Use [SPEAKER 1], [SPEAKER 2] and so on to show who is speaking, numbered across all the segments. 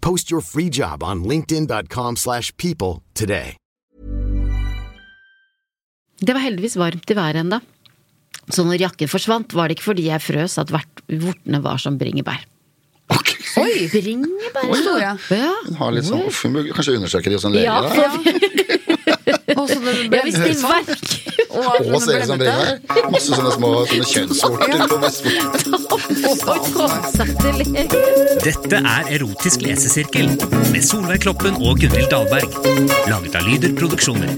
[SPEAKER 1] Post your free job on linkedin.com/people slash people today.
[SPEAKER 2] Det var heldigvis varmt i været enda. Så når jakken forsvant, var det ikke fordi jeg frøs at vert- vortene var som bringebær.
[SPEAKER 3] Oi!
[SPEAKER 2] Bringebær?
[SPEAKER 3] Store.
[SPEAKER 2] Ja.
[SPEAKER 4] sånn. Har litt sånn uff, vi må Kanskje undersøke det hos en lege?
[SPEAKER 2] Ja,
[SPEAKER 4] da?
[SPEAKER 2] for-
[SPEAKER 3] Og så det
[SPEAKER 2] Ja, hvis
[SPEAKER 3] ble
[SPEAKER 2] det verk
[SPEAKER 3] Og
[SPEAKER 4] Og ser ut som brevet her. Masse sånne små sånne kjønnsvorter på Vestfold.
[SPEAKER 5] Dette er Erotisk lesesirkel med Solveig Kloppen og Gunhild Dahlberg. Laget av Lyder Produksjoner.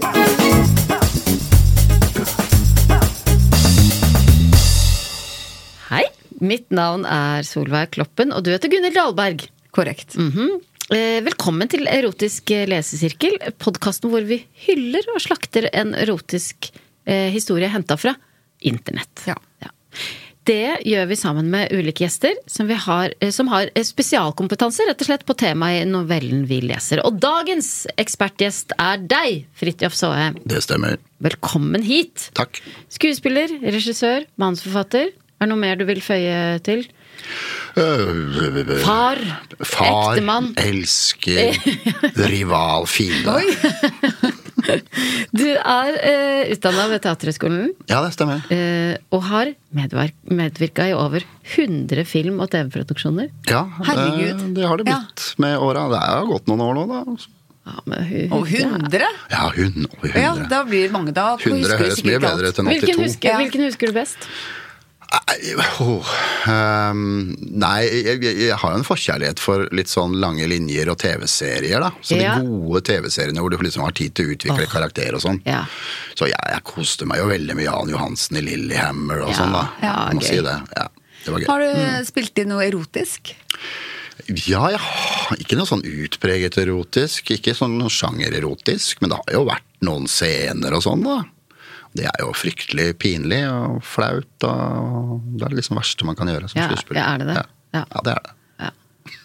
[SPEAKER 2] Hei, mitt navn er Solveig Kloppen, og du heter Gunhild Dahlberg.
[SPEAKER 3] Korrekt.
[SPEAKER 2] Mhm. Eh, Velkommen til Erotisk eh, lesesirkel, podkasten hvor vi hyller og slakter en erotisk eh, historie henta fra internett.
[SPEAKER 3] Ja.
[SPEAKER 2] Det gjør vi sammen med ulike gjester som, vi har, eh, som har eh, spesialkompetanse rett og slett på temaet i novellen vi leser. Og dagens ekspertgjest er deg, Fridtjof Saae.
[SPEAKER 4] Det stemmer.
[SPEAKER 2] Velkommen hit!
[SPEAKER 4] Takk.
[SPEAKER 2] Skuespiller, regissør, manusforfatter. Er det noe mer du vil føye til?
[SPEAKER 4] Øh,
[SPEAKER 2] Far.
[SPEAKER 4] Far,
[SPEAKER 2] Ektemann.
[SPEAKER 4] elsker, rival, fiende.
[SPEAKER 2] Du er eh, utdanna ved Teaterhøgskolen
[SPEAKER 4] Ja, det stemmer.
[SPEAKER 2] eh, og har medvirka i over 100 film- og TV-produksjoner.
[SPEAKER 4] Ja, eh,
[SPEAKER 3] Herregud.
[SPEAKER 4] Det, det har det blitt med åra. Det er jo gått noen år nå, da.
[SPEAKER 2] Ja, men hun-
[SPEAKER 3] Og 100?
[SPEAKER 4] Ja, hun og
[SPEAKER 3] Ja,
[SPEAKER 4] 100.
[SPEAKER 3] da blir det mange. Da husker
[SPEAKER 4] 100
[SPEAKER 3] vi
[SPEAKER 4] høres mye
[SPEAKER 3] sikkert
[SPEAKER 4] bedre
[SPEAKER 3] alt.
[SPEAKER 4] ut enn
[SPEAKER 2] Hvilken
[SPEAKER 4] 82.
[SPEAKER 2] husker,
[SPEAKER 3] Ja.
[SPEAKER 2] hvilken husker du best?
[SPEAKER 4] Nei, åh, ehm, nei jeg, jeg, jeg har jo en forkjærlighet for litt sånn lange linjer og TV-serier, da. Så
[SPEAKER 2] Ja.
[SPEAKER 4] De gode TV-seriene hvor du liksom har tid til å utvikle karakter og sånn.
[SPEAKER 2] Ja.
[SPEAKER 4] Så jeg, jeg koste meg jo veldig med Jan Johansen i Lillehammer og
[SPEAKER 2] Ja,
[SPEAKER 4] sånn, da.
[SPEAKER 2] ja,
[SPEAKER 4] Jeg må
[SPEAKER 2] gøy.
[SPEAKER 4] si det. Ja, det var gøy.
[SPEAKER 3] Har du
[SPEAKER 2] Mm.
[SPEAKER 3] spilt inn noe erotisk?
[SPEAKER 4] Ja, jeg har ikke noe sånn utpreget erotisk, ikke sånn noe sjangererotisk, men det har jo vært noen scener og sånn, da. Det er jo fryktelig pinlig og flaut, og det er det liksom verste man kan gjøre som
[SPEAKER 2] Ja,
[SPEAKER 4] skuespiller.
[SPEAKER 2] ja, er det det? Ja.
[SPEAKER 4] Ja. ja, det er det.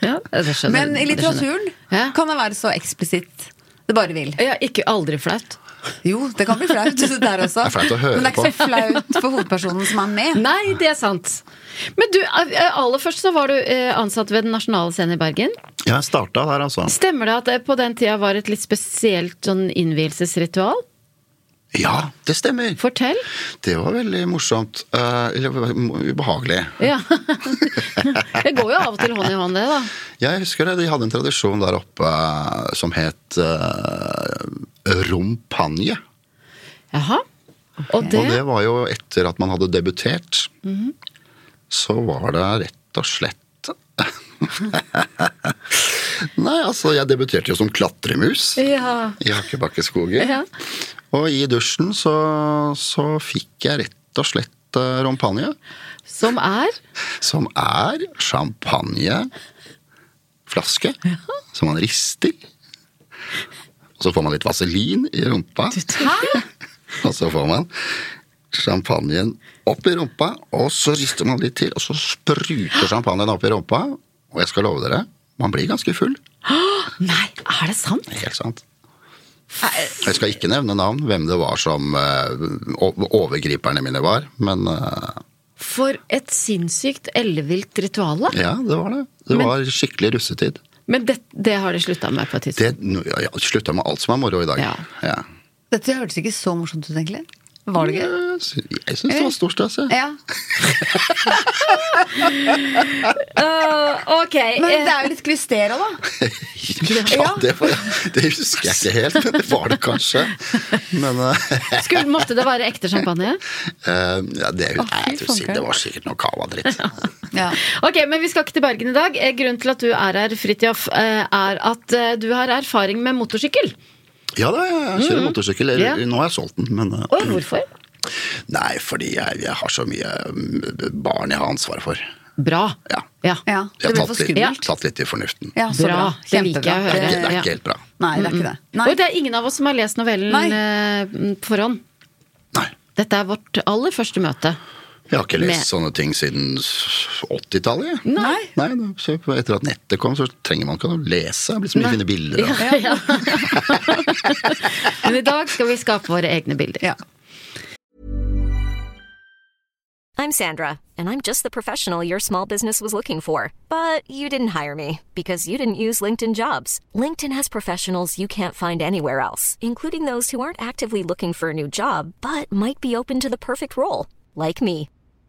[SPEAKER 2] Ja, det skjønner
[SPEAKER 3] Men i
[SPEAKER 2] jeg, det skjønner jeg.
[SPEAKER 3] litteraturen
[SPEAKER 2] Ja.
[SPEAKER 3] kan det være så eksplisitt det bare vil.
[SPEAKER 2] Ja, ikke aldri flaut.
[SPEAKER 3] Jo, det kan bli flaut der også.
[SPEAKER 4] Det er flaut å høre
[SPEAKER 3] Men det er
[SPEAKER 4] på.
[SPEAKER 3] ikke så flaut for hovedpersonen som er med.
[SPEAKER 2] Nei, det er sant. Men du, eh, aller først så var du eh, ansatt ved Den nasjonale scenen i Bergen.
[SPEAKER 4] Ja, jeg starta der, altså.
[SPEAKER 2] Stemmer det at det på den tida var et litt spesielt sånn innvielsesritual?
[SPEAKER 4] Ja, det stemmer.
[SPEAKER 2] Fortell.
[SPEAKER 4] Det var veldig morsomt. eh, Eller ubehagelig.
[SPEAKER 2] Ja. Det går jo av og til hånd i hånd, det, da.
[SPEAKER 4] Jeg husker det, de hadde en tradisjon der oppe eh, som het eh, rompanje.
[SPEAKER 2] Jaha. Og det, Mhm.
[SPEAKER 4] Og det var jo etter at man hadde debutert. Så var det rett og slett Nei, altså, jeg debuterte jo som klatremus
[SPEAKER 2] Ja.
[SPEAKER 4] i Hakkebakkeskogen.
[SPEAKER 2] Ja.
[SPEAKER 4] Og i dusjen så, så fikk jeg rett og slett eh, rompanje,
[SPEAKER 2] Som er
[SPEAKER 4] som er champagneflaske som man rister. Og så får man litt vaselin i rumpa. Og så får man champagnen opp i rumpa, og så rister man litt til, og så spruter champagnen opp i rumpa. Og jeg skal love dere, man blir ganske full.
[SPEAKER 2] Nei, er det sant?
[SPEAKER 4] Helt sant. Jeg skal ikke nevne navn, hvem det var som eh, o- overgriperne mine var, men eh,
[SPEAKER 2] For et sinnssykt ellevilt ritual, da.
[SPEAKER 4] ja, det var det. Det var skikkelig russetid.
[SPEAKER 2] Men det, det har de slutta med på et tidspunkt.
[SPEAKER 4] Det nå- ja, ja, slutta med alt som er moro i dag.
[SPEAKER 2] Ja.
[SPEAKER 4] Ja.
[SPEAKER 3] Dette hørtes ikke så morsomt ut, egentlig. Var det gøy?
[SPEAKER 4] Jeg sy- jeg syns det var stor stas,
[SPEAKER 2] Mm.
[SPEAKER 4] jeg.
[SPEAKER 3] Ja.
[SPEAKER 2] ok.
[SPEAKER 3] Men det er jo litt kvister òg, da.
[SPEAKER 4] Ja, det, var, det husker jeg ikke helt, men det var det kanskje. Men eh,
[SPEAKER 2] Skulle, måtte det være ekte champagne?
[SPEAKER 4] eh, ja, det,
[SPEAKER 3] Å, fy
[SPEAKER 4] nei, jeg tror sikkert det var sikkert noe cava-dritt.
[SPEAKER 3] Ja.
[SPEAKER 2] Ok, men vi skal ikke til Bergen i dag. Eh, Grunnen til at du er her, Fridtjof, eh, er at eh, du har erfaring med motorsykkel.
[SPEAKER 4] Ja da, jeg kjører motorsykkel. Eller,
[SPEAKER 2] Ja.
[SPEAKER 4] Nå har jeg solgt den, men eh,
[SPEAKER 2] Oi, hvorfor?
[SPEAKER 4] Nei, fordi jeg, jeg har så mye mm, barn jeg har ansvaret for.
[SPEAKER 2] Bra.
[SPEAKER 4] Ja.
[SPEAKER 2] Ja.
[SPEAKER 3] ja.
[SPEAKER 4] Jeg
[SPEAKER 3] Det
[SPEAKER 4] har tatt
[SPEAKER 3] blir for
[SPEAKER 4] litt,
[SPEAKER 3] skummelt.
[SPEAKER 4] tatt litt i fornuften.
[SPEAKER 3] Ja, så bra.
[SPEAKER 2] Bra. Det liker jeg å
[SPEAKER 4] Det er ikke,
[SPEAKER 2] høre.
[SPEAKER 4] det er
[SPEAKER 2] Ja.
[SPEAKER 4] ikke helt bra.
[SPEAKER 3] Nei, det er ikke det. Nei.
[SPEAKER 2] Og det er ingen av oss som har lest novellen
[SPEAKER 3] Nei.
[SPEAKER 2] eh, på forhånd.
[SPEAKER 4] Nei.
[SPEAKER 2] Dette er vårt aller første møte.
[SPEAKER 4] Jeg har ikke lest
[SPEAKER 2] Med-
[SPEAKER 4] sånne ting siden 80-tallet. jeg.
[SPEAKER 3] Nei.
[SPEAKER 4] Nei, da- så Etter at nettet kom, så trenger man ikke å lese. Det blir så mye fine bilder. av-
[SPEAKER 2] Ja. Men i dag skal vi skape våre egne bilder.
[SPEAKER 3] Ja.
[SPEAKER 6] I'm Sandra, and I'm just the professional your small business was looking for. But you didn't hire me because you didn't use LinkedIn jobs. LinkedIn has professionals you can't find anywhere else, including those who aren't actively looking for a new job but might be open to the perfect role, like me.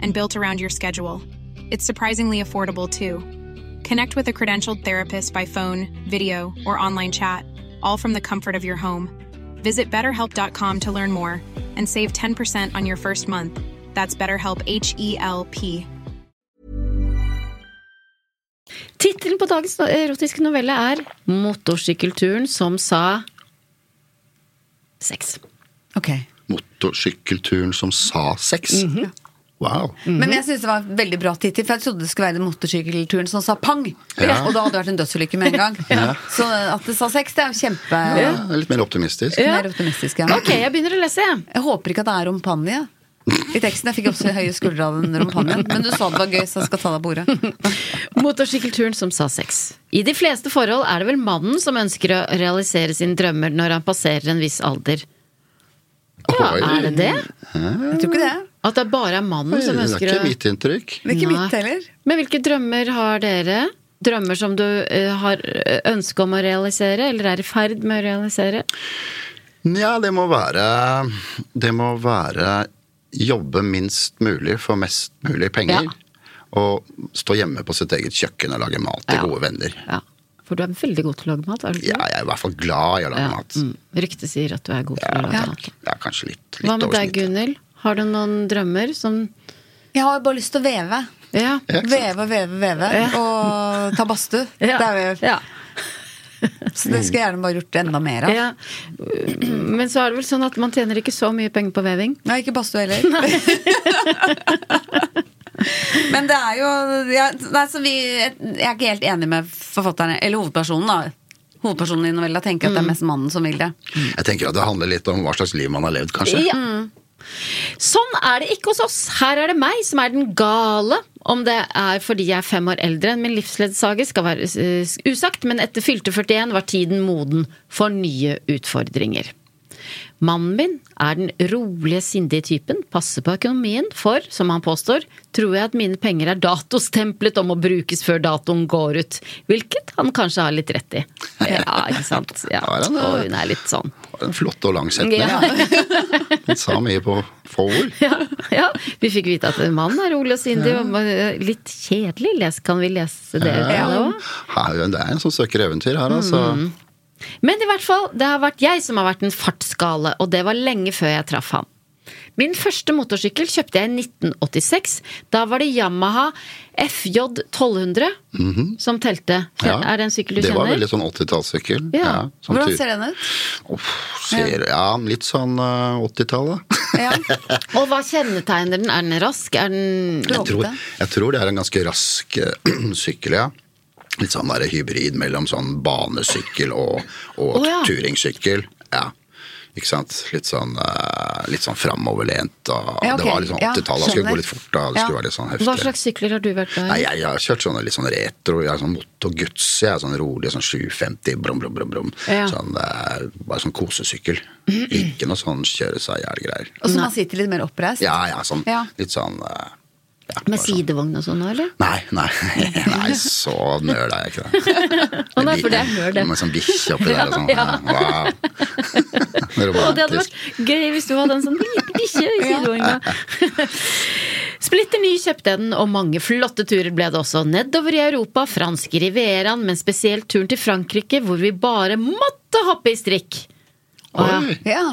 [SPEAKER 7] and built around your schedule. It's surprisingly affordable too. Connect with a credentialed therapist by phone, video, or online chat, all from the comfort of your home. Visit betterhelp.com to learn more and save 10% on your first month. That's BetterHelp H E L P.
[SPEAKER 2] Tittelen på dagens no- erotiske novelle er 'Motorsykkelturen som sa sex'.
[SPEAKER 3] Ok.
[SPEAKER 4] Motorsykkelturen som sa sex.
[SPEAKER 2] Mhm.
[SPEAKER 4] Wow.
[SPEAKER 3] Men jeg syns det var en veldig bra tittel, for jeg trodde det skulle være den motorsykkelturen som sa pang.
[SPEAKER 4] Ja.
[SPEAKER 3] Og da hadde det vært en dødsulykke med en gang. Så at det sa sex, det er jo kjempe
[SPEAKER 4] Ja, litt mer optimistisk.
[SPEAKER 3] Mer optimistisk. Ja.
[SPEAKER 2] Ok, jeg begynner å lese, jeg.
[SPEAKER 3] Jeg håper ikke at det er rompanje. I teksten jeg fikk også høye skuldre av den rompanjen. Men du sa det var gøy, så jeg skal ta deg på ordet.
[SPEAKER 2] Motorsykkelturen som sa sex. I de fleste forhold er det vel mannen som ønsker å realisere sine drømmer når han passerer en viss alder. Ja,
[SPEAKER 4] Oi.
[SPEAKER 2] er det det?
[SPEAKER 3] Jeg tror ikke det.
[SPEAKER 2] At det bare er mannen
[SPEAKER 4] Nei,
[SPEAKER 2] som
[SPEAKER 4] Det er
[SPEAKER 2] ønsker
[SPEAKER 4] ikke
[SPEAKER 2] å
[SPEAKER 4] mitt inntrykk.
[SPEAKER 3] Det er ikke
[SPEAKER 2] Nei.
[SPEAKER 3] mitt heller.
[SPEAKER 2] Men hvilke drømmer har dere? Drømmer som du eh, har eh, ønske om å realisere, eller er i ferd med å realisere?
[SPEAKER 4] Nja, det må være Det må være jobbe minst mulig for mest mulig penger. Og stå hjemme på sitt eget kjøkken og lage mat til
[SPEAKER 2] Ja.
[SPEAKER 4] gode venner.
[SPEAKER 2] Ja. For du er veldig god til å lage mat, er du ikke
[SPEAKER 4] Ja, jeg er i hvert fall glad i å lage
[SPEAKER 2] Ja,
[SPEAKER 4] mat.
[SPEAKER 2] mm. Ryktet sier at du er god til å lage
[SPEAKER 4] Ja,
[SPEAKER 2] mat.
[SPEAKER 4] ja, kanskje litt, litt
[SPEAKER 2] Hva med
[SPEAKER 4] over
[SPEAKER 2] deg,
[SPEAKER 4] snittet.
[SPEAKER 2] Gunhild? Har du noen drømmer som
[SPEAKER 3] Jeg har bare lyst til å veve.
[SPEAKER 2] Ja.
[SPEAKER 4] Ja, ikke sant?
[SPEAKER 3] Veve, veve, veve. Og ta badstue.
[SPEAKER 2] Ja.
[SPEAKER 3] Det er vel-
[SPEAKER 2] ja.
[SPEAKER 3] Så det skulle jeg gjerne bare gjort enda mer av.
[SPEAKER 2] ja. Men så er det vel sånn at man tjener ikke så mye penger på veving.
[SPEAKER 3] Nei, ikke badstue heller. Men det er jo jeg, nei, så vi, jeg er ikke helt enig med forfatteren, eller hovedpersonen, da. Hovedpersonen i novella tenker at det er mest mannen som vil det.
[SPEAKER 4] Jeg tenker at det handler litt om hva slags liv man har levd, kanskje.
[SPEAKER 2] Ja. Sånn er det ikke hos oss. Her er det meg som er den gale. Om det er fordi jeg er fem år eldre enn min livsledsager, skal være eh, usagt, men etter fylte 41 var tiden moden for nye utfordringer. Mannen min er den rolige, sindige typen, passer på økonomien, for, som han påstår, tror jeg at mine penger er datostemplet og må brukes før datoen går ut. Hvilket han kanskje har litt rett i. Ja, ikke sant? Ja.
[SPEAKER 4] Ja, den er-
[SPEAKER 2] Og hun er litt sånn.
[SPEAKER 4] Det var En flott og lang setning. Den sa mye på få ord.
[SPEAKER 2] ja, ja. Vi fikk vite at mannen er rolig og sindig. og bare, Litt kjedelig. Les, kan vi lese det? Ja.
[SPEAKER 4] Her, det er en som søker eventyr her, altså.
[SPEAKER 3] Mm,
[SPEAKER 2] Men i hvert fall, det har vært jeg som har vært en fartsgale, og det var lenge før jeg traff han. Min første motorsykkel kjøpte jeg i 1986. Da var det Yamaha FJ 1200 som telte.
[SPEAKER 4] Mhm. Ja.
[SPEAKER 2] Er det en sykkel du
[SPEAKER 4] Det var
[SPEAKER 2] kjenner?
[SPEAKER 4] veldig sånn 80-tallssykkel.
[SPEAKER 2] Ja.
[SPEAKER 4] sånn
[SPEAKER 3] Hvordan
[SPEAKER 4] tur-
[SPEAKER 3] ser den ut?
[SPEAKER 4] Uff, ser, ja, litt sånn eh, 80-tall, da.
[SPEAKER 3] Ja.
[SPEAKER 2] Og hva kjennetegner den? Er den rask? Er den
[SPEAKER 4] Jeg tror,
[SPEAKER 3] Bråkete.
[SPEAKER 4] jeg tror det er en ganske rask eh, sykkel, ja. Litt sånn der hybrid mellom sånn banesykkel og, og
[SPEAKER 2] Å, ja.
[SPEAKER 4] turingsykkel. Ja, ikke sant. Litt sånn eh, eh, litt sånn framoverlent. Og
[SPEAKER 3] Ja, ok.
[SPEAKER 4] Det var litt sånn
[SPEAKER 3] Ja,
[SPEAKER 4] 80-tallet. det skulle
[SPEAKER 3] skjønner.
[SPEAKER 4] gå litt fort. da, det
[SPEAKER 3] Ja.
[SPEAKER 4] skulle være litt sånn heftig.
[SPEAKER 2] Hva slags sykler har du vært glad
[SPEAKER 4] Nei,
[SPEAKER 2] i?
[SPEAKER 4] jeg har kjørt sånne litt sånn retro, jeg er sånn motorguts, jeg er sånn rolig, sånn 750, brum, brum, brum, brum.
[SPEAKER 2] Ja.
[SPEAKER 4] Sånn, eh, bare sånn kosesykkel. Ikke noe sånn kjøre seg i hjel-greier.
[SPEAKER 3] Og så man sitter litt mer oppreist.
[SPEAKER 4] Ja, ja, sånn,
[SPEAKER 3] Ja.
[SPEAKER 4] litt sånn eh, ja, bare
[SPEAKER 2] Med
[SPEAKER 4] sånn.
[SPEAKER 2] sidevogn og sånn, eller?
[SPEAKER 4] Nei, nei, nei, så nøl er jeg ikke det.
[SPEAKER 2] Å, nei, for det er nøl, det.
[SPEAKER 4] Med sånn bikkje oppi der og sånn.
[SPEAKER 2] Ja,
[SPEAKER 4] Wow.
[SPEAKER 2] Og det hadde
[SPEAKER 4] Romantisk.
[SPEAKER 2] vært gøy hvis du hadde en sånn liten bikkje i sidevogna. Splitter ny kjøpte jeg den, og mange flotte turer ble det også. Nedover i Europa, fransk rivieraen, men spesielt turen til Frankrike, hvor vi bare måtte hoppe i strikk. Å, ja.
[SPEAKER 4] Oi.
[SPEAKER 3] Ja.